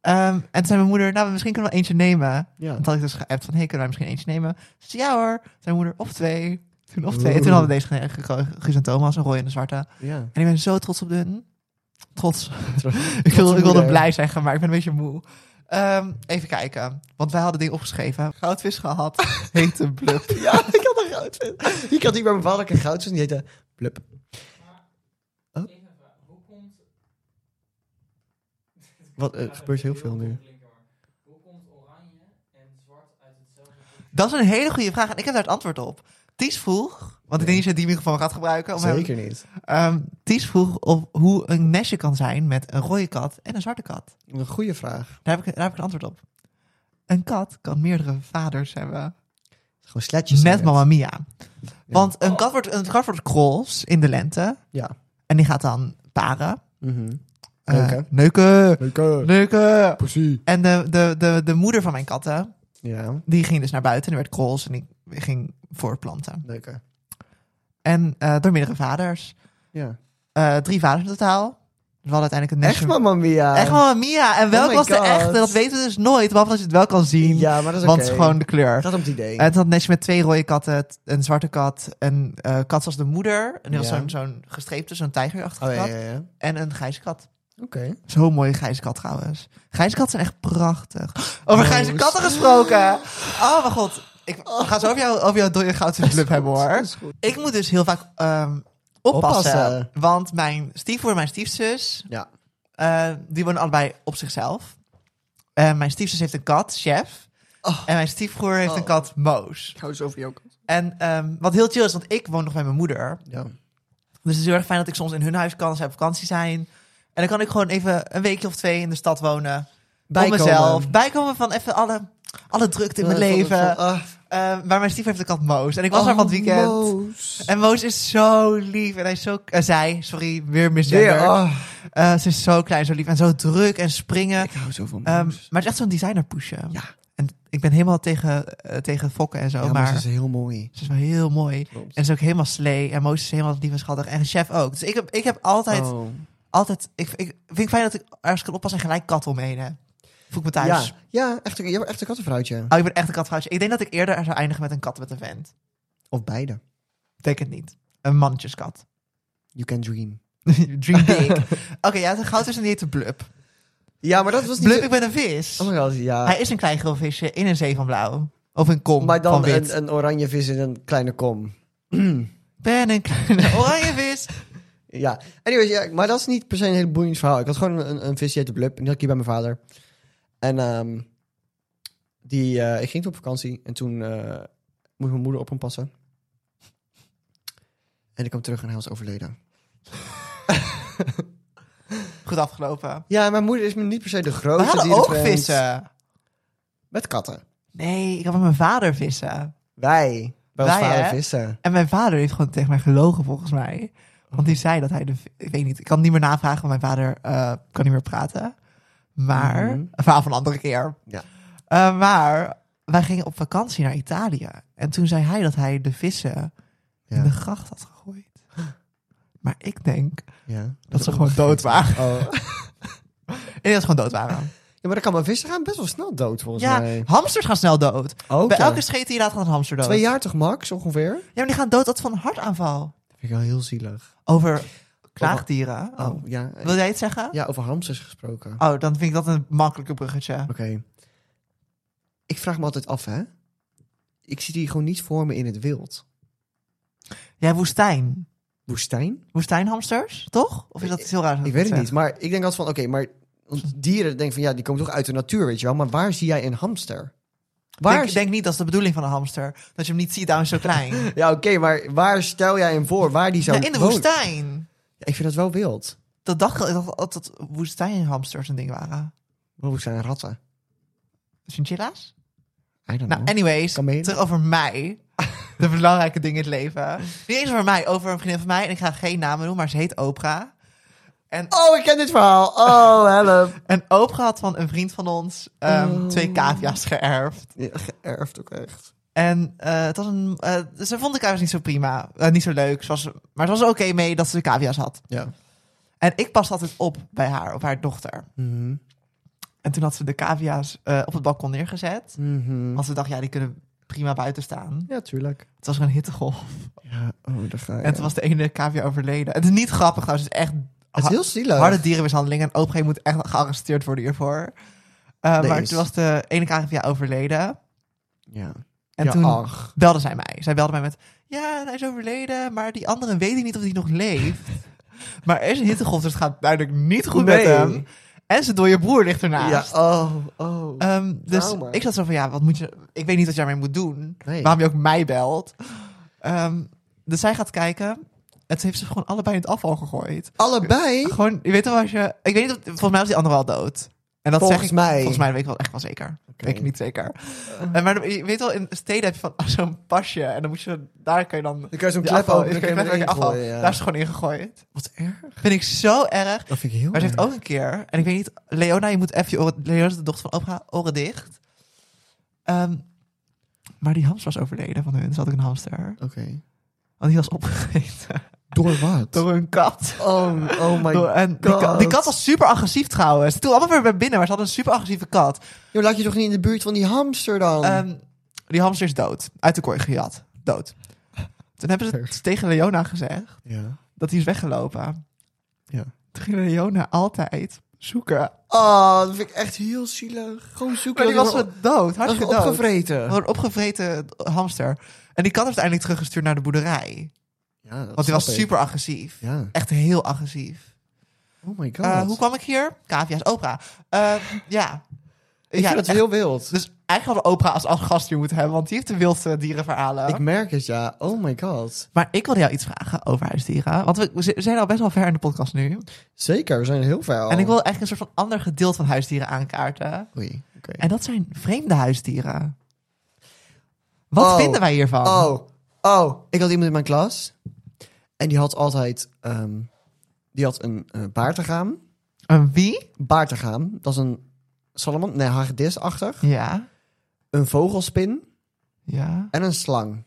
Speaker 1: Ehm, en toen zei mijn moeder, nou, misschien kunnen we eentje nemen.
Speaker 2: Ja.
Speaker 1: En toen had ik dus geappt van, hey, kunnen wij misschien eentje nemen? Ze zei, ja hoor. Toen zei mijn moeder, of twee. Toen of twee. En toen hadden we deze gekregen. Guus en Thomas, een rode en een zwarte.
Speaker 2: Ja.
Speaker 1: En ik ben zo trots op hun. Trots.
Speaker 2: Trots.
Speaker 1: ik, wil, ik wilde
Speaker 2: moeder.
Speaker 1: blij zeggen, maar ik ben een beetje moe. Ehm, even kijken, want wij hadden dingen opgeschreven. Goudvis gehad, hete blub.
Speaker 2: Ja, ik had een goudvis. Ik had hier bij mijn vader ook een goudvis en die heette Blub. Oh. Wat, er gebeurt heel veel nu.
Speaker 1: Dat is een hele goede vraag en ik heb daar het antwoord op. Ties vroeg, want ik denk dat je die microfoon gaat gebruiken. Om hem-
Speaker 2: Zeker niet.
Speaker 1: Ehm, Ties vroeg of hoe een nestje kan zijn met een rode kat en een zwarte kat.
Speaker 2: Een goede vraag.
Speaker 1: Daar heb ik, daar heb ik een antwoord op. Een kat kan meerdere vaders hebben.
Speaker 2: Gewoon sletjes.
Speaker 1: Net Mamma Mia.
Speaker 2: Ja.
Speaker 1: Want een kat wordt, een kat wordt krols in de lente.
Speaker 2: Ja.
Speaker 1: En die gaat dan paren.
Speaker 2: Mhm.
Speaker 1: Eh,
Speaker 2: Neuken.
Speaker 1: neuken.
Speaker 2: Leuke.
Speaker 1: Neuken.
Speaker 2: Pussy.
Speaker 1: En de, de, de, de moeder van mijn katten,
Speaker 2: Ja.
Speaker 1: die ging dus naar buiten. En die werd krols en die ging voorplanten.
Speaker 2: Leuke.
Speaker 1: En eh, door meerdere vaders.
Speaker 2: Ja.
Speaker 1: Eh, drie vaders in totaal. Dus we hadden uiteindelijk een
Speaker 2: Echt
Speaker 1: nestje.
Speaker 2: Mamma Mia. Oh
Speaker 1: Echt Mamma Mia. En welke
Speaker 2: my
Speaker 1: was de
Speaker 2: God.
Speaker 1: echte? Dat weten we dus nooit. Behalve als je het wel kan zien.
Speaker 2: Ja, maar dat is oké.
Speaker 1: want het is gewoon de kleur.
Speaker 2: Het gaat om het idee.
Speaker 1: En het had een nestje met twee rode katten, t- een zwarte kat, een eh, kat zoals de moeder. En die was
Speaker 2: Ja.
Speaker 1: zo'n zo'n gestreepte, zo'n tijgerachtige
Speaker 2: Oh ja,
Speaker 1: kat.
Speaker 2: ja, ja.
Speaker 1: En een grijze kat.
Speaker 2: Oké.
Speaker 1: Zo'n mooie grijze kat trouwens. Grijze katten zijn echt prachtig. Over
Speaker 2: Oh,
Speaker 1: grijze
Speaker 2: s-
Speaker 1: katten gesproken. Oh mijn god. Ik ga zo over jou, over jouw dode goudse club hebben hoor.
Speaker 2: Is goed.
Speaker 1: Ik moet dus heel vaak ehm, oppassen,
Speaker 2: Oppassen.
Speaker 1: Want mijn stiefvoer en mijn stiefzus,
Speaker 2: Ja.
Speaker 1: eh, die wonen allebei op zichzelf. En mijn stiefzus heeft een kat, Chef.
Speaker 2: Oh.
Speaker 1: En mijn stiefbroer heeft
Speaker 2: Oh.
Speaker 1: een kat, Moos.
Speaker 2: Ik hou zo van jou.
Speaker 1: En ehm, wat heel chill is, want ik woon nog bij mijn moeder.
Speaker 2: Ja.
Speaker 1: Dus het is heel erg fijn dat ik soms in hun huis kan als zij op vakantie zijn. En dan kan ik gewoon even een weekje of twee in de stad wonen. Bij
Speaker 2: Bijkomen.
Speaker 1: mezelf. Bijkomen van even alle, alle drukte in mijn
Speaker 2: Eh, van-
Speaker 1: leven.
Speaker 2: van- ah,
Speaker 1: Eh, maar mijn stiefvader heeft de kat Moos. En ik was
Speaker 2: Oh,
Speaker 1: daar van het weekend.
Speaker 2: Moos.
Speaker 1: En Moos is zo lief. En hij is zo... eh, zij, sorry, weer misgender.
Speaker 2: Weer, ah.
Speaker 1: Eh, ze is zo klein, zo lief en zo druk en springen.
Speaker 2: Ik hou zo van
Speaker 1: Ehm,
Speaker 2: Moos.
Speaker 1: maar het is echt zo'n designer pushen.
Speaker 2: Ja.
Speaker 1: En ik ben helemaal tegen, eh, tegen fokken en zo.
Speaker 2: ja, maar,
Speaker 1: maar
Speaker 2: ze is heel mooi.
Speaker 1: ze is wel heel mooi.
Speaker 2: Klopt.
Speaker 1: En ze is ook helemaal slee. En Moos is helemaal lief en schattig. En chef ook. Dus ik heb, ik heb altijd...
Speaker 2: Oh.
Speaker 1: altijd ik, ik vind het fijn dat ik ergens kan oppassen en gelijk kat omheen heb. Voel ik me thuis.
Speaker 2: Ja, ja echt, een- je bent echt een kattenvrouwtje.
Speaker 1: Oh, ik ben echt een kathuisje. Ik denk dat ik eerder zou eindigen met een kat met een vent.
Speaker 2: Of beide.
Speaker 1: Denk het niet. Een mannetjeskat.
Speaker 2: You can dream.
Speaker 1: Dream big. Oké, ja, het goud is een die heet de Blub.
Speaker 2: Ja, maar dat was niet...
Speaker 1: Blub,
Speaker 2: zo-
Speaker 1: ik ben een vis.
Speaker 2: Oh my god, ja.
Speaker 1: Hij is een klein geel visje in een zee van blauw. Of een kom
Speaker 2: maar
Speaker 1: van
Speaker 2: dan
Speaker 1: wit.
Speaker 2: een, een oranje vis in een kleine kom.
Speaker 1: Ben een kleine oranje vis.
Speaker 2: Ja, anyways, ja, maar dat is niet per se een heel boeiend verhaal. Ik had gewoon een, een visje uit de blub en die had ik hier bij mijn vader. En ehm, die, eh, ik ging toen op vakantie en toen eh, moest mijn moeder op hem passen. En ik kwam terug en hij was overleden.
Speaker 1: Goed afgelopen.
Speaker 2: Ja, mijn moeder is me niet per se de
Speaker 1: We
Speaker 2: grootste
Speaker 1: hadden ook
Speaker 2: dierenvriend.
Speaker 1: vissen.
Speaker 2: Met katten.
Speaker 1: Nee, ik had met mijn vader vissen.
Speaker 2: Wij. Bij ons
Speaker 1: Wij,
Speaker 2: vader
Speaker 1: hè?
Speaker 2: vissen.
Speaker 1: En mijn vader heeft gewoon tegen mij gelogen, volgens mij. Want
Speaker 2: Oh.
Speaker 1: die zei dat hij de... Ik weet niet, ik kan het niet meer navragen, want mijn vader eh, kan niet meer praten. Maar...
Speaker 2: Mhm.
Speaker 1: Een verhaal van een andere keer.
Speaker 2: Ja.
Speaker 1: Eh, maar wij gingen op vakantie naar Italië. En toen zei hij dat hij de vissen in
Speaker 2: Ja.
Speaker 1: de gracht had gegooid. Maar ik denk
Speaker 2: Ja.
Speaker 1: dat ze gewoon dood waren.
Speaker 2: Oh.
Speaker 1: Ik denk dat ze gewoon dood waren.
Speaker 2: Ja, maar dan kan mijn vissen gaan best wel snel dood, volgens
Speaker 1: ja,
Speaker 2: mij.
Speaker 1: hamsters gaan snel dood.
Speaker 2: Ook,
Speaker 1: Bij
Speaker 2: ja.
Speaker 1: elke scheet die je laat gaat een hamster dood.
Speaker 2: Twee jaar toch, max, ongeveer?
Speaker 1: Ja, maar die gaan dood altijd van een hartaanval.
Speaker 2: Dat vind ik wel heel zielig.
Speaker 1: Over klaagdieren.
Speaker 2: Oh,
Speaker 1: Oh.
Speaker 2: ja.
Speaker 1: Wil jij het zeggen?
Speaker 2: Ja, over hamsters gesproken.
Speaker 1: Oh, dan vind ik dat een makkelijke bruggetje.
Speaker 2: Oké. Ik vraag me altijd af, hè. Ik zie die gewoon niet voor me in het wild.
Speaker 1: Ja, woestijn.
Speaker 2: Woestijn?
Speaker 1: Woestijnhamsters, toch? Of is dat iets heel raars? wat
Speaker 2: Ik weet het
Speaker 1: zeg?
Speaker 2: niet, maar ik denk altijd van, oké, maar want dieren denken van, ja, die komen toch uit de natuur, weet je wel. Maar waar zie jij een hamster? Waar
Speaker 1: Ik denk, denk niet dat is de bedoeling van een hamster. Dat je hem niet ziet, daarom is hij zo klein.
Speaker 2: Ja, oké, maar waar stel jij hem voor? Waar die zou
Speaker 1: Ja, Nou, in de
Speaker 2: wonen?
Speaker 1: woestijn.
Speaker 2: Ja, ik vind dat wel wild.
Speaker 1: Dat dacht ik dat, dat, dat woestijnhamsters een ding waren.
Speaker 2: Maar woestijn ratten?
Speaker 1: Chinchilla's?
Speaker 2: I don't
Speaker 1: Nou,
Speaker 2: know.
Speaker 1: anyways,
Speaker 2: Kamelen?
Speaker 1: terug over mij. De belangrijke dingen in het leven. Niet eens over mij, over een vriendin van mij. En ik ga geen namen noemen, maar ze heet Oprah. En,
Speaker 2: Oh, ik ken dit verhaal. Oh, help.
Speaker 1: en Oprah had van een vriend van ons ehm,
Speaker 2: Oh.
Speaker 1: twee cavia's geërfd.
Speaker 2: Ja, geërfd ook echt.
Speaker 1: En eh, het was een, eh, ze vond de cavia's niet zo prima, eh, niet zo leuk. Ze was, maar ze was er oké mee dat ze de cavia's had.
Speaker 2: Ja.
Speaker 1: En ik pas altijd op bij haar, op haar dochter.
Speaker 2: Mhm,
Speaker 1: En toen had ze de cavia's eh, op het balkon neergezet. Want ze dacht, ja, die kunnen prima buiten staan.
Speaker 2: mhm. Ja, tuurlijk.
Speaker 1: Het was er een hittegolf.
Speaker 2: Ja, oh, daar ga je.
Speaker 1: En toen was de ene cavia overleden. Het is niet grappig trouwens. Het is echt
Speaker 2: Het is
Speaker 1: ha-
Speaker 2: heel zielig.
Speaker 1: harde dierenmishandeling. En OPG moet echt gearresteerd worden hiervoor. Eh,
Speaker 2: Nee, dus-
Speaker 1: maar
Speaker 2: is-
Speaker 1: toen was de ene cavia overleden.
Speaker 2: Ja.
Speaker 1: En
Speaker 2: Ja,
Speaker 1: toen
Speaker 2: ach.
Speaker 1: belde zij mij. Zij belde mij met... Ja, hij is overleden, maar die andere weet ik niet of hij nog leeft. maar er is een hittegolf, dus het gaat duidelijk niet goed met
Speaker 2: Nee.
Speaker 1: hem. En zijn dode broer ligt ernaast.
Speaker 2: Ja, oh, oh.
Speaker 1: Ehm, dus
Speaker 2: Trauma.
Speaker 1: ik zat zo van, ja, wat moet je... Ik weet niet wat jij mee moet doen.
Speaker 2: Nee.
Speaker 1: Waarom je ook mij belt. Ehm, dus zij gaat kijken. En ze heeft ze gewoon allebei in het afval gegooid.
Speaker 2: Allebei?
Speaker 1: Gewoon, je weet wel als je... Ik weet niet, of- volgens mij was die andere al dood. En dat
Speaker 2: Volgens
Speaker 1: zeg ik,
Speaker 2: mij.
Speaker 1: Volgens mij dat weet ik wel echt wel zeker. Weet ik niet zeker. En maar je weet wel, in steden heb je van oh, zo'n pasje. En dan moet je... Daar kun je dan...
Speaker 2: Dan kan je zo'n
Speaker 1: je
Speaker 2: klep
Speaker 1: afval-
Speaker 2: open,
Speaker 1: je
Speaker 2: dan
Speaker 1: kun
Speaker 2: kan
Speaker 1: je
Speaker 2: je
Speaker 1: met
Speaker 2: hem
Speaker 1: je afval.
Speaker 2: ingooien, ja.
Speaker 1: Daar is het gewoon ingegooid.
Speaker 2: Wat erg.
Speaker 1: Vind ik zo erg.
Speaker 2: Dat vind ik heel
Speaker 1: Maar ze heeft
Speaker 2: erg.
Speaker 1: ook een keer, en ik weet niet, Leona, je moet even je oren, Leona is de dochter van Oprah, oren dicht. Ehm, maar die hamster was overleden van hun, dus had ik een hamster.
Speaker 2: Oké.
Speaker 1: Want die was opgegeten
Speaker 2: Door wat?
Speaker 1: door een kat.
Speaker 2: Oh, oh my
Speaker 1: Door-
Speaker 2: god.
Speaker 1: en die, ka- die kat was super agressief trouwens. Toen allemaal weer bij binnen, maar ze had een super agressieve kat.
Speaker 2: Joh, laat je toch niet in de buurt van die hamster dan?
Speaker 1: Ehm, die hamster is dood, uit de kooi gejat, dood. Toen hebben ze het tegen Leona gezegd
Speaker 2: ja.
Speaker 1: dat hij is weggelopen.
Speaker 2: ja.
Speaker 1: Toen ging Leona altijd zoeken.
Speaker 2: Oh, dat vind ik echt heel zielig. Gewoon zoeken.
Speaker 1: Maar die
Speaker 2: dat
Speaker 1: was
Speaker 2: je
Speaker 1: wel dood,
Speaker 2: dat je
Speaker 1: hartstikke dood.
Speaker 2: opgevreten.
Speaker 1: Gewoon Een opgevreten hamster. En die kat heeft uiteindelijk teruggestuurd naar de boerderij.
Speaker 2: Ja, dat
Speaker 1: Want die
Speaker 2: snap
Speaker 1: was
Speaker 2: ik.
Speaker 1: super agressief.
Speaker 2: Ja.
Speaker 1: Echt heel agressief.
Speaker 2: Oh my god.
Speaker 1: Eh, hoe kwam ik hier? Kavia's Oprah. Eh, ja.
Speaker 2: ik
Speaker 1: ja,
Speaker 2: vind dat
Speaker 1: echt.
Speaker 2: heel wild.
Speaker 1: Dus eigenlijk hadden we Oprah als, als gast hier moeten hebben. Want die heeft de wildste dierenverhalen.
Speaker 2: Ik merk het, ja. Oh my god.
Speaker 1: Maar ik wilde jou iets vragen over huisdieren. Want we, we zi- we zijn al best wel ver in de podcast nu.
Speaker 2: Zeker, we zijn heel ver al.
Speaker 1: En ik wil eigenlijk een soort van ander gedeelte van huisdieren aankaarten.
Speaker 2: Oei, oké.
Speaker 1: En dat zijn vreemde huisdieren. Wat
Speaker 2: Oh.
Speaker 1: vinden wij hiervan?
Speaker 2: Oh, oh. Ik had iemand in mijn klas. En die had altijd... ehm, die had een eh baartegaam.
Speaker 1: Een wie?
Speaker 2: Baartegaam. Dat is een salamand. Nee, hagedisachtig.
Speaker 1: Ja.
Speaker 2: Een vogelspin.
Speaker 1: Ja. Oh
Speaker 2: En een slang.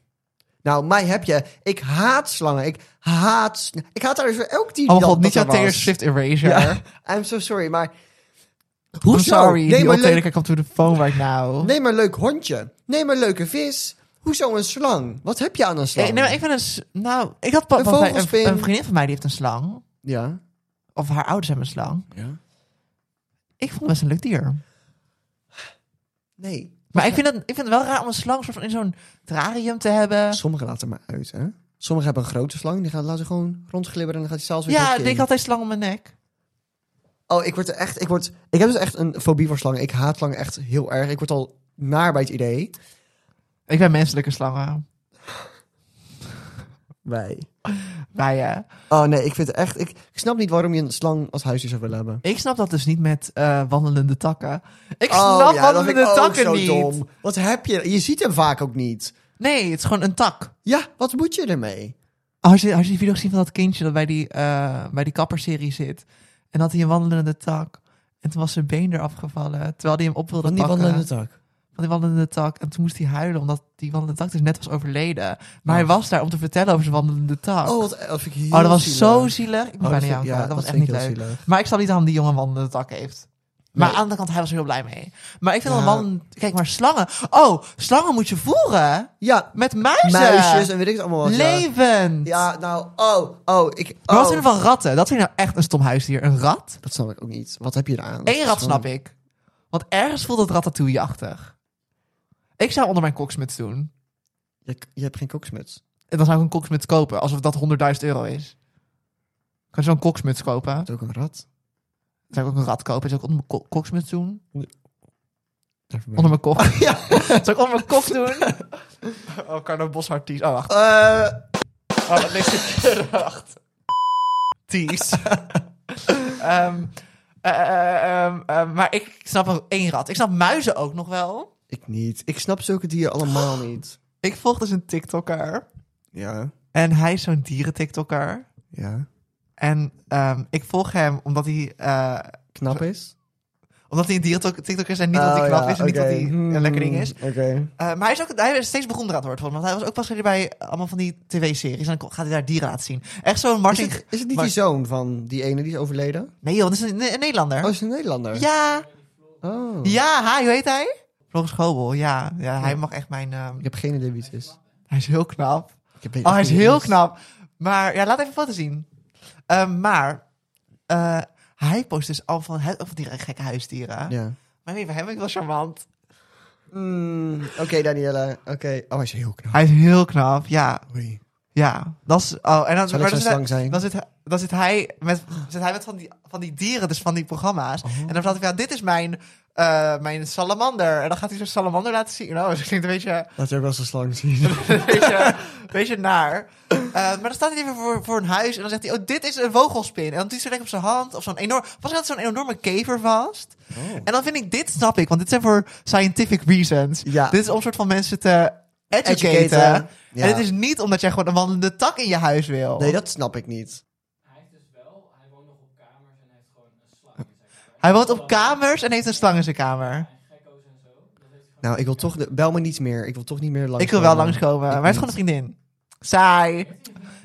Speaker 2: Nou, mij heb je. Ik haat slangen. Ik haat. s- Ik haat daar dus ook die.
Speaker 1: Oh mijn
Speaker 2: dat-
Speaker 1: god, niet
Speaker 2: dat
Speaker 1: jouw
Speaker 2: er was.
Speaker 1: Taylor Swift Erasure.
Speaker 2: Ja, I'm so sorry, maar.
Speaker 1: I'm
Speaker 2: Hoezo?
Speaker 1: sorry,
Speaker 2: Neem
Speaker 1: die
Speaker 2: maar,
Speaker 1: optreden
Speaker 2: leuk,
Speaker 1: kan to the phone right now.
Speaker 2: neem een leuk hondje. Neem een leuke vis. Hoezo een slang? Wat heb je aan een slang?
Speaker 1: Eh, nee, maar ik vind een... s- Nou, ik had pa-
Speaker 2: Een
Speaker 1: want wij-
Speaker 2: vogelspin.
Speaker 1: een, een vriendin van mij die heeft een slang.
Speaker 2: Ja.
Speaker 1: Of haar ouders hebben een slang.
Speaker 2: ja.
Speaker 1: Ik vond het best een leuk dier.
Speaker 2: Nee.
Speaker 1: Maar ik vind, het, ik vind het wel raar om een slang soort van in zo'n terrarium te hebben.
Speaker 2: Sommigen laten maar uit, hè? Sommigen hebben een grote slang. Die gaan laten gewoon rondglibberen en dan gaat hij zelfs weer
Speaker 1: Ja,
Speaker 2: terug in.
Speaker 1: ik had een slang om mijn nek.
Speaker 2: Oh, ik word er echt. Ik, word, ik heb dus echt een fobie voor slangen. Ik haat slangen echt heel erg. Ik word al naar bij het idee.
Speaker 1: Ik ben menselijke slangen.
Speaker 2: Wij.
Speaker 1: Wij, hè.
Speaker 2: Oh nee, ik vind het echt. Ik, ik snap niet waarom je een slang als huisdier zou willen hebben.
Speaker 1: Ik snap dat dus niet met eh, wandelende takken. Ik
Speaker 2: Oh,
Speaker 1: snap
Speaker 2: ja, dat vind
Speaker 1: wandelende
Speaker 2: ik ook
Speaker 1: takken
Speaker 2: zo
Speaker 1: niet.
Speaker 2: dom. Wat heb je? Je ziet hem vaak ook niet.
Speaker 1: Nee, het is gewoon een tak.
Speaker 2: Ja, wat moet je ermee?
Speaker 1: Oh, Had je, had je die video gezien van dat kindje dat bij die, eh, bij die kapperserie zit? En had hij een wandelende tak. En toen was zijn been eraf gevallen. Terwijl hij hem op wilde pakken.
Speaker 2: tak.
Speaker 1: Van die wandelende tak. En toen moest hij huilen omdat die wandelende tak dus net was overleden. Maar hij was daar om te vertellen over zijn wandelende tak.
Speaker 2: Oh, wat, dat vind ik heel
Speaker 1: Oh, dat was
Speaker 2: zielig.
Speaker 1: zo zielig. Ik moet
Speaker 2: Oh,
Speaker 1: bijna
Speaker 2: dat vind-
Speaker 1: janken.
Speaker 2: ja,
Speaker 1: dat,
Speaker 2: dat
Speaker 1: was echt
Speaker 2: vind
Speaker 1: niet
Speaker 2: ik heel
Speaker 1: leuk.
Speaker 2: zielig.
Speaker 1: Maar ik snap niet aan die jongen een wandelende tak heeft. Maar
Speaker 2: Nee.
Speaker 1: aan de andere kant, hij was er heel blij mee. Maar ik vind
Speaker 2: Ja.
Speaker 1: dan wandelende... Kijk, maar slangen... Oh, slangen moet je voeren.
Speaker 2: Ja,
Speaker 1: Met muizen.
Speaker 2: muisjes en weet ik het allemaal wat. ja.
Speaker 1: Levend.
Speaker 2: Ja, nou, oh, oh, ik. Oh.
Speaker 1: Maar wat vinden we van ratten? Dat vind ik nou echt een stom huisdier. Een rat?
Speaker 2: Dat snap ik ook niet. Wat heb je eraan?
Speaker 1: Eén rat snap ik. Want ergens voelt het ratatouille-achtig. Ik zou onder mijn koksmuts doen.
Speaker 2: Je, je hebt geen koksmuts.
Speaker 1: En dan zou ik een koksmuts kopen. Alsof dat 100.000 euro is. Kan je zo'n koksmuts kopen?
Speaker 2: Dat is ook een rat.
Speaker 1: Zou ik ook een rat kopen? Zou ik onder mijn ko- koksmuts doen?
Speaker 2: Never mind.
Speaker 1: Onder mijn kop. ja. Zou ik onder mijn kop doen? Oh, Carlo Boshart Ties. Oh, wacht.
Speaker 2: Eh,
Speaker 1: Oh, dat ligt verkeerd. Wacht. Ties. Ehm, eh, ehm, ehm, maar ik snap ook één rat. Ik snap muizen ook nog wel.
Speaker 2: ik niet. Ik snap zulke dieren allemaal niet.
Speaker 1: Ik volg dus een TikToker.
Speaker 2: Ja,
Speaker 1: En hij is zo'n dieren-TikToker.
Speaker 2: ja.
Speaker 1: En ehm, ik volg hem omdat hij... eh,
Speaker 2: Knap is.
Speaker 1: omdat hij een dieren-TikToker is en niet dat hij knap is en niet dat hij een lekker ding is.
Speaker 2: Oh, Oké.
Speaker 1: Eh, maar hij is, ook, hij is steeds beroemder aan het worden. Want hij was ook pas weer bij allemaal van die tv-series. En dan gaat hij daar dieren laten zien. Echt zo'n
Speaker 2: Is
Speaker 1: Martin...
Speaker 2: het, is het niet
Speaker 1: Maar-
Speaker 2: die zoon van die ene die is overleden?
Speaker 1: Nee joh, dat is een, een Nederlander.
Speaker 2: Oh, is het een Nederlander?
Speaker 1: ja,
Speaker 2: Oh.
Speaker 1: ja, hi, hoe heet hij? Floris Schobel, ja. ja. Hij mag echt mijn... ehm,
Speaker 2: Ik heb geen idee wie het is.
Speaker 1: Hij is heel knap.
Speaker 2: Ik heb echt
Speaker 1: Oh, hij is
Speaker 2: geen
Speaker 1: heel
Speaker 2: idee.
Speaker 1: knap. Maar ja, laat even een foto zien. Ehm, maar eh, hij post dus al van, he- van die gekke huisdieren.
Speaker 2: Ja.
Speaker 1: Maar nee, bij hem vind ik wel charmant.
Speaker 2: Mm, Oké, Danielle. Oké. Oh, hij is heel knap.
Speaker 1: Hij is heel knap, ja.
Speaker 2: Oei.
Speaker 1: Ja, dat is... Oh, en dan,
Speaker 2: Zal
Speaker 1: maar
Speaker 2: ik
Speaker 1: dan
Speaker 2: zijn
Speaker 1: zit hij-
Speaker 2: slang zijn?
Speaker 1: Dan zit, hij- dan zit hij met, zit hij met van, die, van die dieren, dus van die
Speaker 2: Oh.
Speaker 1: programma's. En dan vertelt hij, ja, dit is mijn, eh, mijn salamander. En dan gaat hij zo'n salamander laten zien. Nou, dat klinkt een beetje,
Speaker 2: Laat je ook wel eens een slang zien.
Speaker 1: een beetje, een beetje naar. Eh, maar dan staat hij even voor, voor een huis en dan zegt hij, oh, dit is een vogelspin. En dan doet hij zo lekker op zijn hand of zo'n enorm... Was dat zo'n enorme kever vast?
Speaker 2: Oh.
Speaker 1: En dan vind ik, dit snap ik, want dit zijn voor scientific reasons.
Speaker 2: Ja.
Speaker 1: Dit is om soort van mensen te educaten.
Speaker 2: Educaten, ja.
Speaker 1: En het is niet omdat jij gewoon een wandelende tak in je huis wil.
Speaker 2: Nee, dat snap ik niet.
Speaker 3: Hij heeft dus wel, hij woont nog op kamers en hij heeft gewoon een slang in zijn kamer.
Speaker 1: Hij woont op kamers en heeft een slang in zijn kamer.
Speaker 2: Oh,
Speaker 3: En gekko's en zo. Dat heeft hij
Speaker 2: Nou, ik wil toch... de- bel me niet meer. Ik wil toch niet meer langs.
Speaker 1: Ik wil wel langskomen. Maar hij heeft gewoon een vriendin. Saai.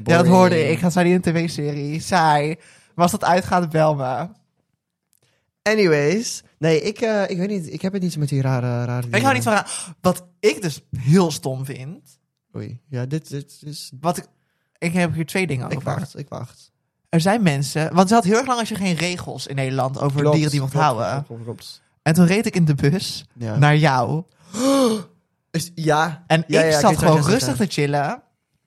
Speaker 1: Ja, dat hoorde ik. Gaat zij die in een tv-serie? Saai. Maar als dat uitgaat, bel me.
Speaker 2: Anyways. Nee, ik, eh, ik weet niet. Ik heb het niet zo met die rare, rare
Speaker 1: Ik hou
Speaker 2: dieren.
Speaker 1: niet van... ra- Wat ik dus heel stom vind...
Speaker 2: Oei. Ja, dit, dit is...
Speaker 1: Wat ik... Ik heb hier twee dingen
Speaker 2: Ik
Speaker 1: over.
Speaker 2: wacht, ik wacht.
Speaker 1: Er zijn mensen... Want ze had heel erg lang als je geen regels in Nederland... over
Speaker 2: Klopt,
Speaker 1: dieren die je mocht
Speaker 2: klopt,
Speaker 1: houden.
Speaker 2: klopt, klopt, klopt.
Speaker 1: En toen reed ik in de bus
Speaker 2: Ja.
Speaker 1: naar jou.
Speaker 2: Is- ja.
Speaker 1: En
Speaker 2: Ja,
Speaker 1: ik
Speaker 2: ja,
Speaker 1: zat
Speaker 2: weet
Speaker 1: gewoon
Speaker 2: wat jij
Speaker 1: rustig
Speaker 2: zegt,
Speaker 1: te chillen.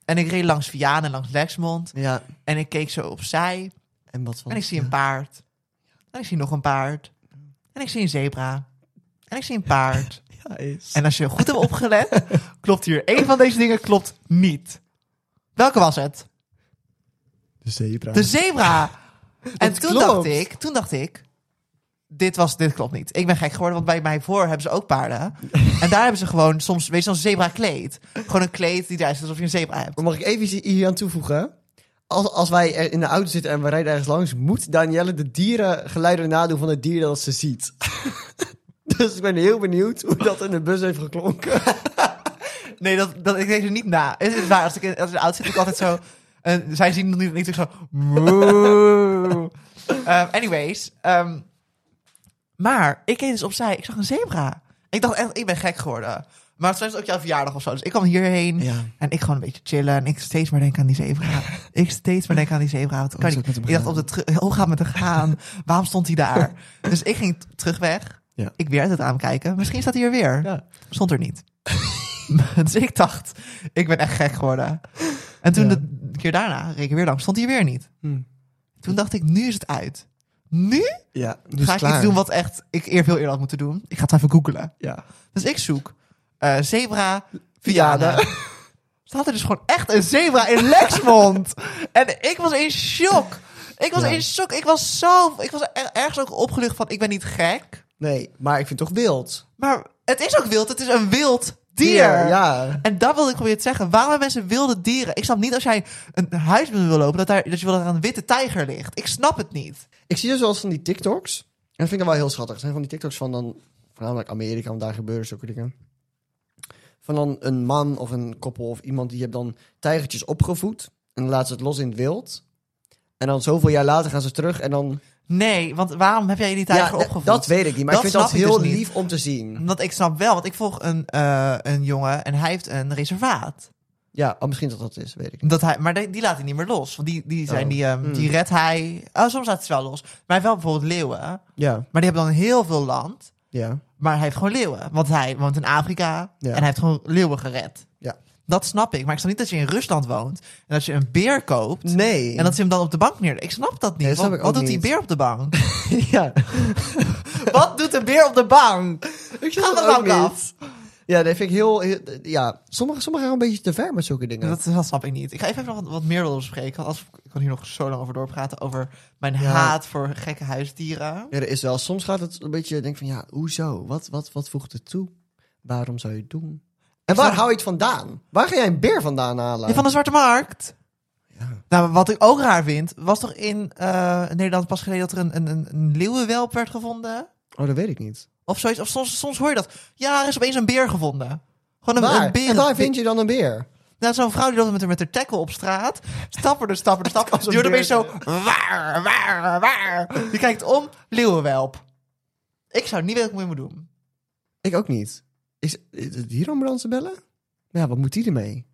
Speaker 1: En ik reed langs Vianen, langs Lexmond.
Speaker 2: ja. Ja.
Speaker 1: En ik keek zo opzij.
Speaker 2: En wat van...
Speaker 1: En ik zie een paard. En ik zie nog een paard. En ik zie een zebra. En ik zie een paard.
Speaker 2: Ja, is...
Speaker 1: En als je goed hebt opgelet, klopt hier één van deze dingen klopt niet. Welke was het?
Speaker 2: De zebra. Dus-
Speaker 1: De zebra. En toen
Speaker 2: klopt.
Speaker 1: dacht ik, toen dacht ik, dit, was, dit klopt niet. Ik ben gek geworden, want bij mij voor hebben ze ook paarden. en daar hebben ze gewoon soms, weet je, zo'n zebra kleed. Gewoon een kleed die eruit ziet alsof je een zebra hebt.
Speaker 2: Maar Mag ik even iets hier aan toevoegen? Als, als wij er in de auto zitten en we rijden ergens langs, moet Danielle de dierengeluiden nadoen van het dier dat ze ziet. dus ik ben heel benieuwd hoe dat in de bus heeft geklonken.
Speaker 1: Nee, dat, dat, ik denk er niet na. Het is waar, als ik in, als ik in de auto zit, doe ik altijd zo... En zij zien het niet, niet zo... "Moe." Ehm, anyways. ehm, maar ik keek dus opzij, ik zag een zebra. Ik dacht echt, ik ben gek geworden. Maar het was ook jouw verjaardag of zo. Dus ik kwam hierheen
Speaker 2: Ja.
Speaker 1: en ik gewoon een beetje chillen. En ik steeds maar denk aan die zebra. ik steeds maar denk aan die zebra. Het kan
Speaker 2: is
Speaker 1: niet.
Speaker 2: het met hem
Speaker 1: Ik dacht, op de teru- hoe gaat het met hem gaan? Waarom stond hij daar? Dus ik ging t- terug weg.
Speaker 2: Ja.
Speaker 1: Ik weer uit het raam kijken. Misschien staat hij er weer
Speaker 2: Ja.
Speaker 1: stond er niet. dus ik dacht, ik ben echt gek geworden. En toen
Speaker 2: Ja.
Speaker 1: de keer daarna, reed ik weer lang, stond hij weer niet.
Speaker 2: Hmm.
Speaker 1: Toen dacht ik, nu is het uit. Nu
Speaker 2: Ja, dus
Speaker 1: ga ik
Speaker 2: klaar.
Speaker 1: iets doen wat echt ik eer veel eerder had moeten doen. Ik ga het even googelen.
Speaker 2: Ja.
Speaker 1: Dus ik zoek eh, zebra Viana. Staat er dus gewoon echt een zebra in Lexmond. en ik was in shock. Ik was
Speaker 2: Ja.
Speaker 1: in shock. Ik was zo... Ik was er- ergens ook opgelucht van, ik ben niet gek.
Speaker 2: Nee, maar ik vind het toch wild.
Speaker 1: Maar het is ook wild. Het is een wild dier.
Speaker 2: Ja.
Speaker 1: En dat wilde ik proberen te zeggen. Waarom hebben mensen wilde dieren? Ik snap niet als jij een huis binnen wil lopen, dat, daar, dat je wil dat er een witte tijger ligt. Ik snap het niet.
Speaker 2: Ik zie dus wel eens van die TikToks. En dat vind ik dan wel heel schattig. Het zijn van die TikToks van dan... Voornamelijk Amerika, want daar gebeuren zulke dingen. Van dan een man of een koppel of iemand die hebt dan tijgertjes opgevoed. En dan laten ze het los in het wild. En dan zoveel jaar later gaan ze terug en dan...
Speaker 1: Nee, want waarom heb jij die tijger
Speaker 2: d-
Speaker 1: opgevoed?
Speaker 2: dat weet ik niet. Maar
Speaker 1: Dat
Speaker 2: ik vind dat
Speaker 1: snap ik
Speaker 2: heel
Speaker 1: dus niet.
Speaker 2: lief om te zien.
Speaker 1: Want ik snap wel, want ik volg een, eh, een jongen en hij heeft een reservaat.
Speaker 2: Ja, oh, misschien dat dat is, weet ik niet.
Speaker 1: Dat hij, maar die, die laat hij niet meer los. Want die, die, zijn,
Speaker 2: Oh.
Speaker 1: die, ehm,
Speaker 2: Hmm.
Speaker 1: die redt hij. Oh, soms laat hij ze wel los. Maar hij heeft wel bijvoorbeeld leeuwen.
Speaker 2: Ja,
Speaker 1: Maar die hebben dan heel veel land.
Speaker 2: ja.
Speaker 1: Maar hij heeft gewoon leeuwen. Want hij woont in Afrika
Speaker 2: Ja.
Speaker 1: en hij heeft gewoon leeuwen gered.
Speaker 2: Ja.
Speaker 1: Dat snap ik. Maar ik snap niet dat je in Rusland woont en dat je een beer koopt.
Speaker 2: Nee.
Speaker 1: En dat ze hem dan op de bank neerleggen. Ik snap dat niet.
Speaker 2: Nee, dat snap
Speaker 1: wat
Speaker 2: ik
Speaker 1: wat
Speaker 2: ook
Speaker 1: doet die
Speaker 2: niet.
Speaker 1: beer op de bank?
Speaker 2: ja.
Speaker 1: wat doet een beer op de bank?
Speaker 2: Ik
Speaker 1: Ga
Speaker 2: snap
Speaker 1: dat
Speaker 2: het ook
Speaker 1: ook af.
Speaker 2: niet. Ja, dat vind ik heel... heel- ja, sommigen sommige gaan een beetje te ver met zulke dingen.
Speaker 1: Dat, dat snap ik niet. Ik ga even nog wat, wat meer willen bespreken. want Als, ik kan hier nog zo lang over doorpraten. Over mijn
Speaker 2: Ja.
Speaker 1: haat voor gekke huisdieren.
Speaker 2: Ja, er is wel. Soms gaat het een beetje, denk van ja, hoezo? Wat, wat, wat voegt het toe? Waarom zou je het doen? En waar
Speaker 1: snap-
Speaker 2: hou je het vandaan? Waar ga jij een beer vandaan halen?
Speaker 1: Ja, van de Zwarte Markt.
Speaker 2: Ja.
Speaker 1: Nou, wat ik ook raar vind, was toch in eh, Nederland pas geleden dat er een, een- een, een leeuwenwelp werd gevonden?
Speaker 2: Oh, dat weet ik niet.
Speaker 1: Of zoiets. Of soms, soms hoor je dat. Ja, er is opeens een beer gevonden. Gewoon een,
Speaker 2: Waar?
Speaker 1: een beer.
Speaker 2: En waar vind je dan een beer?
Speaker 1: Nou, zo'n vrouw die loopt met haar, met haar tackle op straat. Stapperde, stapperde, stapperde.
Speaker 2: zo'n
Speaker 1: Die wordt opeens
Speaker 2: beer
Speaker 1: zo... Waar, waar, waar. Die kijkt om. Leeuwenwelp. Ik zou niet weten wat ik mee moet doen.
Speaker 2: Ik ook niet. Is is het dierenambulance bellen? Ja, wat moet die ermee?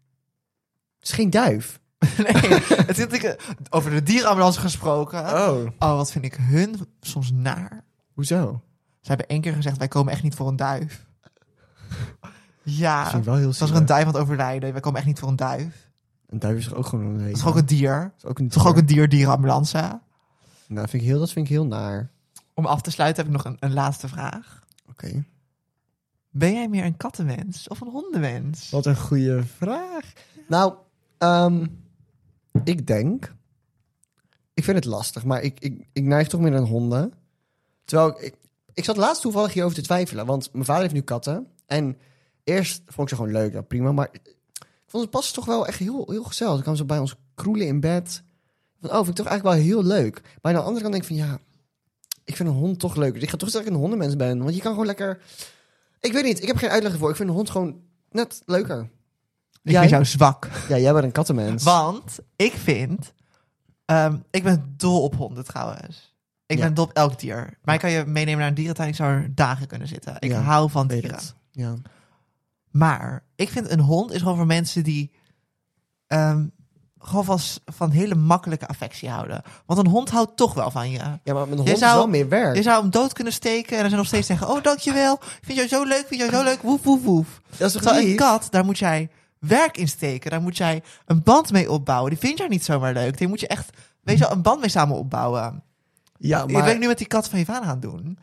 Speaker 2: Het is geen duif.
Speaker 1: Nee, het zit, ik, over de dierenambulance gesproken.
Speaker 2: Oh.
Speaker 1: Oh, Ah. wat vind ik hun soms naar.
Speaker 2: Hoezo?
Speaker 1: Ze hebben één keer gezegd, wij komen echt niet voor een duif.
Speaker 2: Dat
Speaker 1: Ja,
Speaker 2: vind ik wel heel
Speaker 1: als er
Speaker 2: zielig.
Speaker 1: een duif aan het overlijden, wij komen echt niet voor een duif.
Speaker 2: Een duif is toch ook gewoon een leven?
Speaker 1: Dat is toch ook een dier?
Speaker 2: Is ook een,
Speaker 1: Toch ook een dier, dierenambulance?
Speaker 2: Nou, dat vind ik heel, dat vind ik heel naar.
Speaker 1: Om af te sluiten heb ik nog een, een laatste vraag.
Speaker 2: Oké.
Speaker 1: Ben jij meer een kattenmens of een hondenmens?
Speaker 2: Wat een goede vraag. Nou, ehm, ik denk. Ik vind het lastig, maar ik, ik, ik neig toch meer naar honden. Terwijl ik, ik, ik zat laatst toevallig hierover te twijfelen, want mijn vader heeft nu katten. En eerst vond ik ze gewoon leuk, ja, prima. Maar ik vond het pas toch wel echt heel, heel gezellig. Dan kwamen ze bij ons kroelen in bed. Van, oh, vind ik toch eigenlijk wel heel leuk. Maar aan de andere kant denk ik van, ja, ik vind een hond toch leuker. Dus ik ga toch zeggen dat ik een hondenmens ben, want je kan gewoon lekker... Ik weet niet, ik heb geen uitleg ervoor. Ik vind een hond gewoon net leuker.
Speaker 1: Ik
Speaker 2: Jij?
Speaker 1: vind jou zwak.
Speaker 2: Ja, jij bent een kattenmens.
Speaker 1: Want ik vind... ehm, ik ben dol op honden trouwens. Ik
Speaker 2: Ja.
Speaker 1: ben dol op elk dier. Maar ik kan je meenemen naar een dierentuin. Ik zou er dagen kunnen zitten. Ik
Speaker 2: Ja,
Speaker 1: hou van
Speaker 2: Weet
Speaker 1: dieren.
Speaker 2: het. Ja.
Speaker 1: Maar ik vind een hond is gewoon voor mensen die... ehm, gewoon van, s- van hele makkelijke affectie houden. Want een hond houdt toch wel van je.
Speaker 2: ja, maar mijn
Speaker 1: Jij zou-
Speaker 2: hond is wel meer werk.
Speaker 1: Je zou hem dood kunnen steken en dan zijn nog steeds zeggen... Oh, dankjewel. Ik vind jou zo leuk, ik vind jou zo leuk. Woef, woef, woef.
Speaker 2: Dat is toch
Speaker 1: Terwijl een
Speaker 2: lief?
Speaker 1: kat, daar moet jij werk in steken. Daar moet jij een band mee opbouwen. Die vind jij niet zomaar leuk. Die moet je echt, weet je wel, een band mee samen opbouwen.
Speaker 2: Ja,
Speaker 1: Dat ben
Speaker 2: maar...
Speaker 1: ik nu met die kat van je vader aan het doen.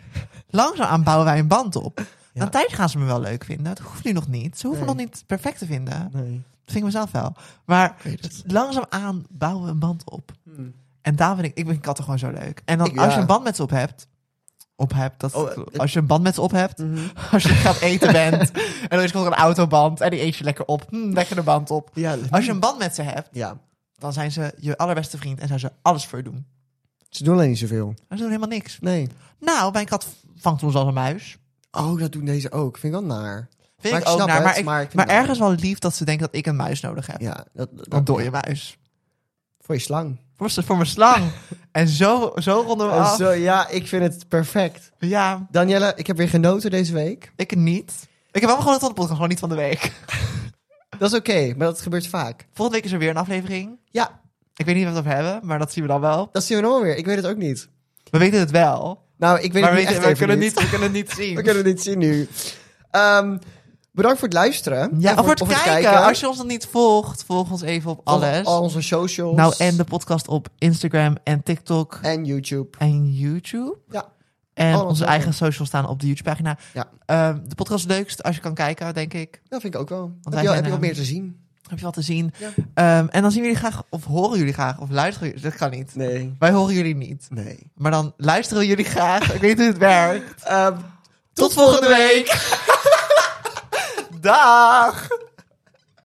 Speaker 1: Langzaamaan bouwen wij een band op.
Speaker 2: Ja.
Speaker 1: Na een tijd gaan ze me wel leuk vinden. Dat hoeft nu nog niet. Ze hoeven
Speaker 2: Nee.
Speaker 1: nog niet perfect te vinden. Dat
Speaker 2: Nee.
Speaker 1: vind ik mezelf wel. Maar
Speaker 2: weet het.
Speaker 1: langzaamaan bouwen we een band op. En daar vind ik, ik vind katten gewoon zo leuk. En dan
Speaker 2: Hmm. Ik-
Speaker 1: als je
Speaker 2: ja.
Speaker 1: een band met ze op hebt, op hebt. Dat,
Speaker 2: Oh, eh, Mhm.
Speaker 1: als je een band met ze op hebt. Als je gaat eten bent. en dan is er een autoband. En die eet je lekker op. Hm, lekker de band op.
Speaker 2: Ja,
Speaker 1: Als je een band met ze hebt,
Speaker 2: ja,
Speaker 1: dan zijn ze je allerbeste vriend. En zou ze alles voor je doen.
Speaker 2: ze doen alleen niet zoveel.
Speaker 1: Maar ze doen helemaal niks.
Speaker 2: Nee.
Speaker 1: Nou, mijn kat vangt ons als een muis.
Speaker 2: Oh, dat doen deze ook. Vind ik wel naar.
Speaker 1: Vind
Speaker 2: Maar
Speaker 1: ik
Speaker 2: ik
Speaker 1: ook
Speaker 2: snap
Speaker 1: naar.
Speaker 2: het,
Speaker 1: Maar, ik-
Speaker 2: maar ik vind
Speaker 1: maar
Speaker 2: het wel.
Speaker 1: ergens wel lief dat ze denken dat ik een muis nodig heb.
Speaker 2: Ja, dat, dat,
Speaker 1: Een dode muis.
Speaker 2: Voor je slang.
Speaker 1: Voor, s- voor mijn slang. en zo, zo ronden we
Speaker 2: En
Speaker 1: af.
Speaker 2: zo, ja, ik vind het perfect.
Speaker 1: Ja,
Speaker 2: Danielle, ik heb weer genoten deze week.
Speaker 1: ik niet. Ik heb wel gewoon een podcast, gewoon niet van de week.
Speaker 2: Dat is oké, maar dat gebeurt vaak.
Speaker 1: Volgende week is er weer een aflevering.
Speaker 2: Ja,
Speaker 1: Ik weet niet waar we het over hebben, maar dat zien we dan wel.
Speaker 2: dat zien we nog wel weer. Ik weet het ook niet.
Speaker 1: We weten het wel.
Speaker 2: Nou, ik weet
Speaker 1: maar
Speaker 2: het
Speaker 1: we,
Speaker 2: niet echt
Speaker 1: we,
Speaker 2: even
Speaker 1: kunnen
Speaker 2: niet.
Speaker 1: niet, we kunnen het niet zien.
Speaker 2: We kunnen het niet zien nu. Ehm, bedankt voor het luisteren.
Speaker 1: Ja,
Speaker 2: En
Speaker 1: of voor het, kijken. Als je ons nog niet volgt, volg ons even op
Speaker 2: Volg
Speaker 1: alles.
Speaker 2: Al onze socials.
Speaker 1: Nou, en de podcast op Instagram en TikTok
Speaker 2: En YouTube.
Speaker 1: en YouTube.
Speaker 2: Ja.
Speaker 1: En
Speaker 2: Alles
Speaker 1: onze
Speaker 2: leuk.
Speaker 1: eigen socials staan op de YouTube-pagina.
Speaker 2: Ja.
Speaker 1: Ehm, de podcast is het leukst als je kan kijken, denk ik.
Speaker 2: Dat vind ik ook wel.
Speaker 1: wij
Speaker 2: heb je, al-
Speaker 1: zijn,
Speaker 2: heb je wat
Speaker 1: ehm,
Speaker 2: meer te zien?
Speaker 1: Heb je wat te zien.
Speaker 2: Ja.
Speaker 1: Ehm, en dan zien we jullie graag, of horen jullie graag, of luisteren jullie. Dat kan niet.
Speaker 2: Nee.
Speaker 1: Wij horen jullie niet.
Speaker 2: Nee.
Speaker 1: Maar dan luisteren we jullie graag. ik weet niet hoe het werkt.
Speaker 2: Ehm,
Speaker 1: Tot volgende week. Dag.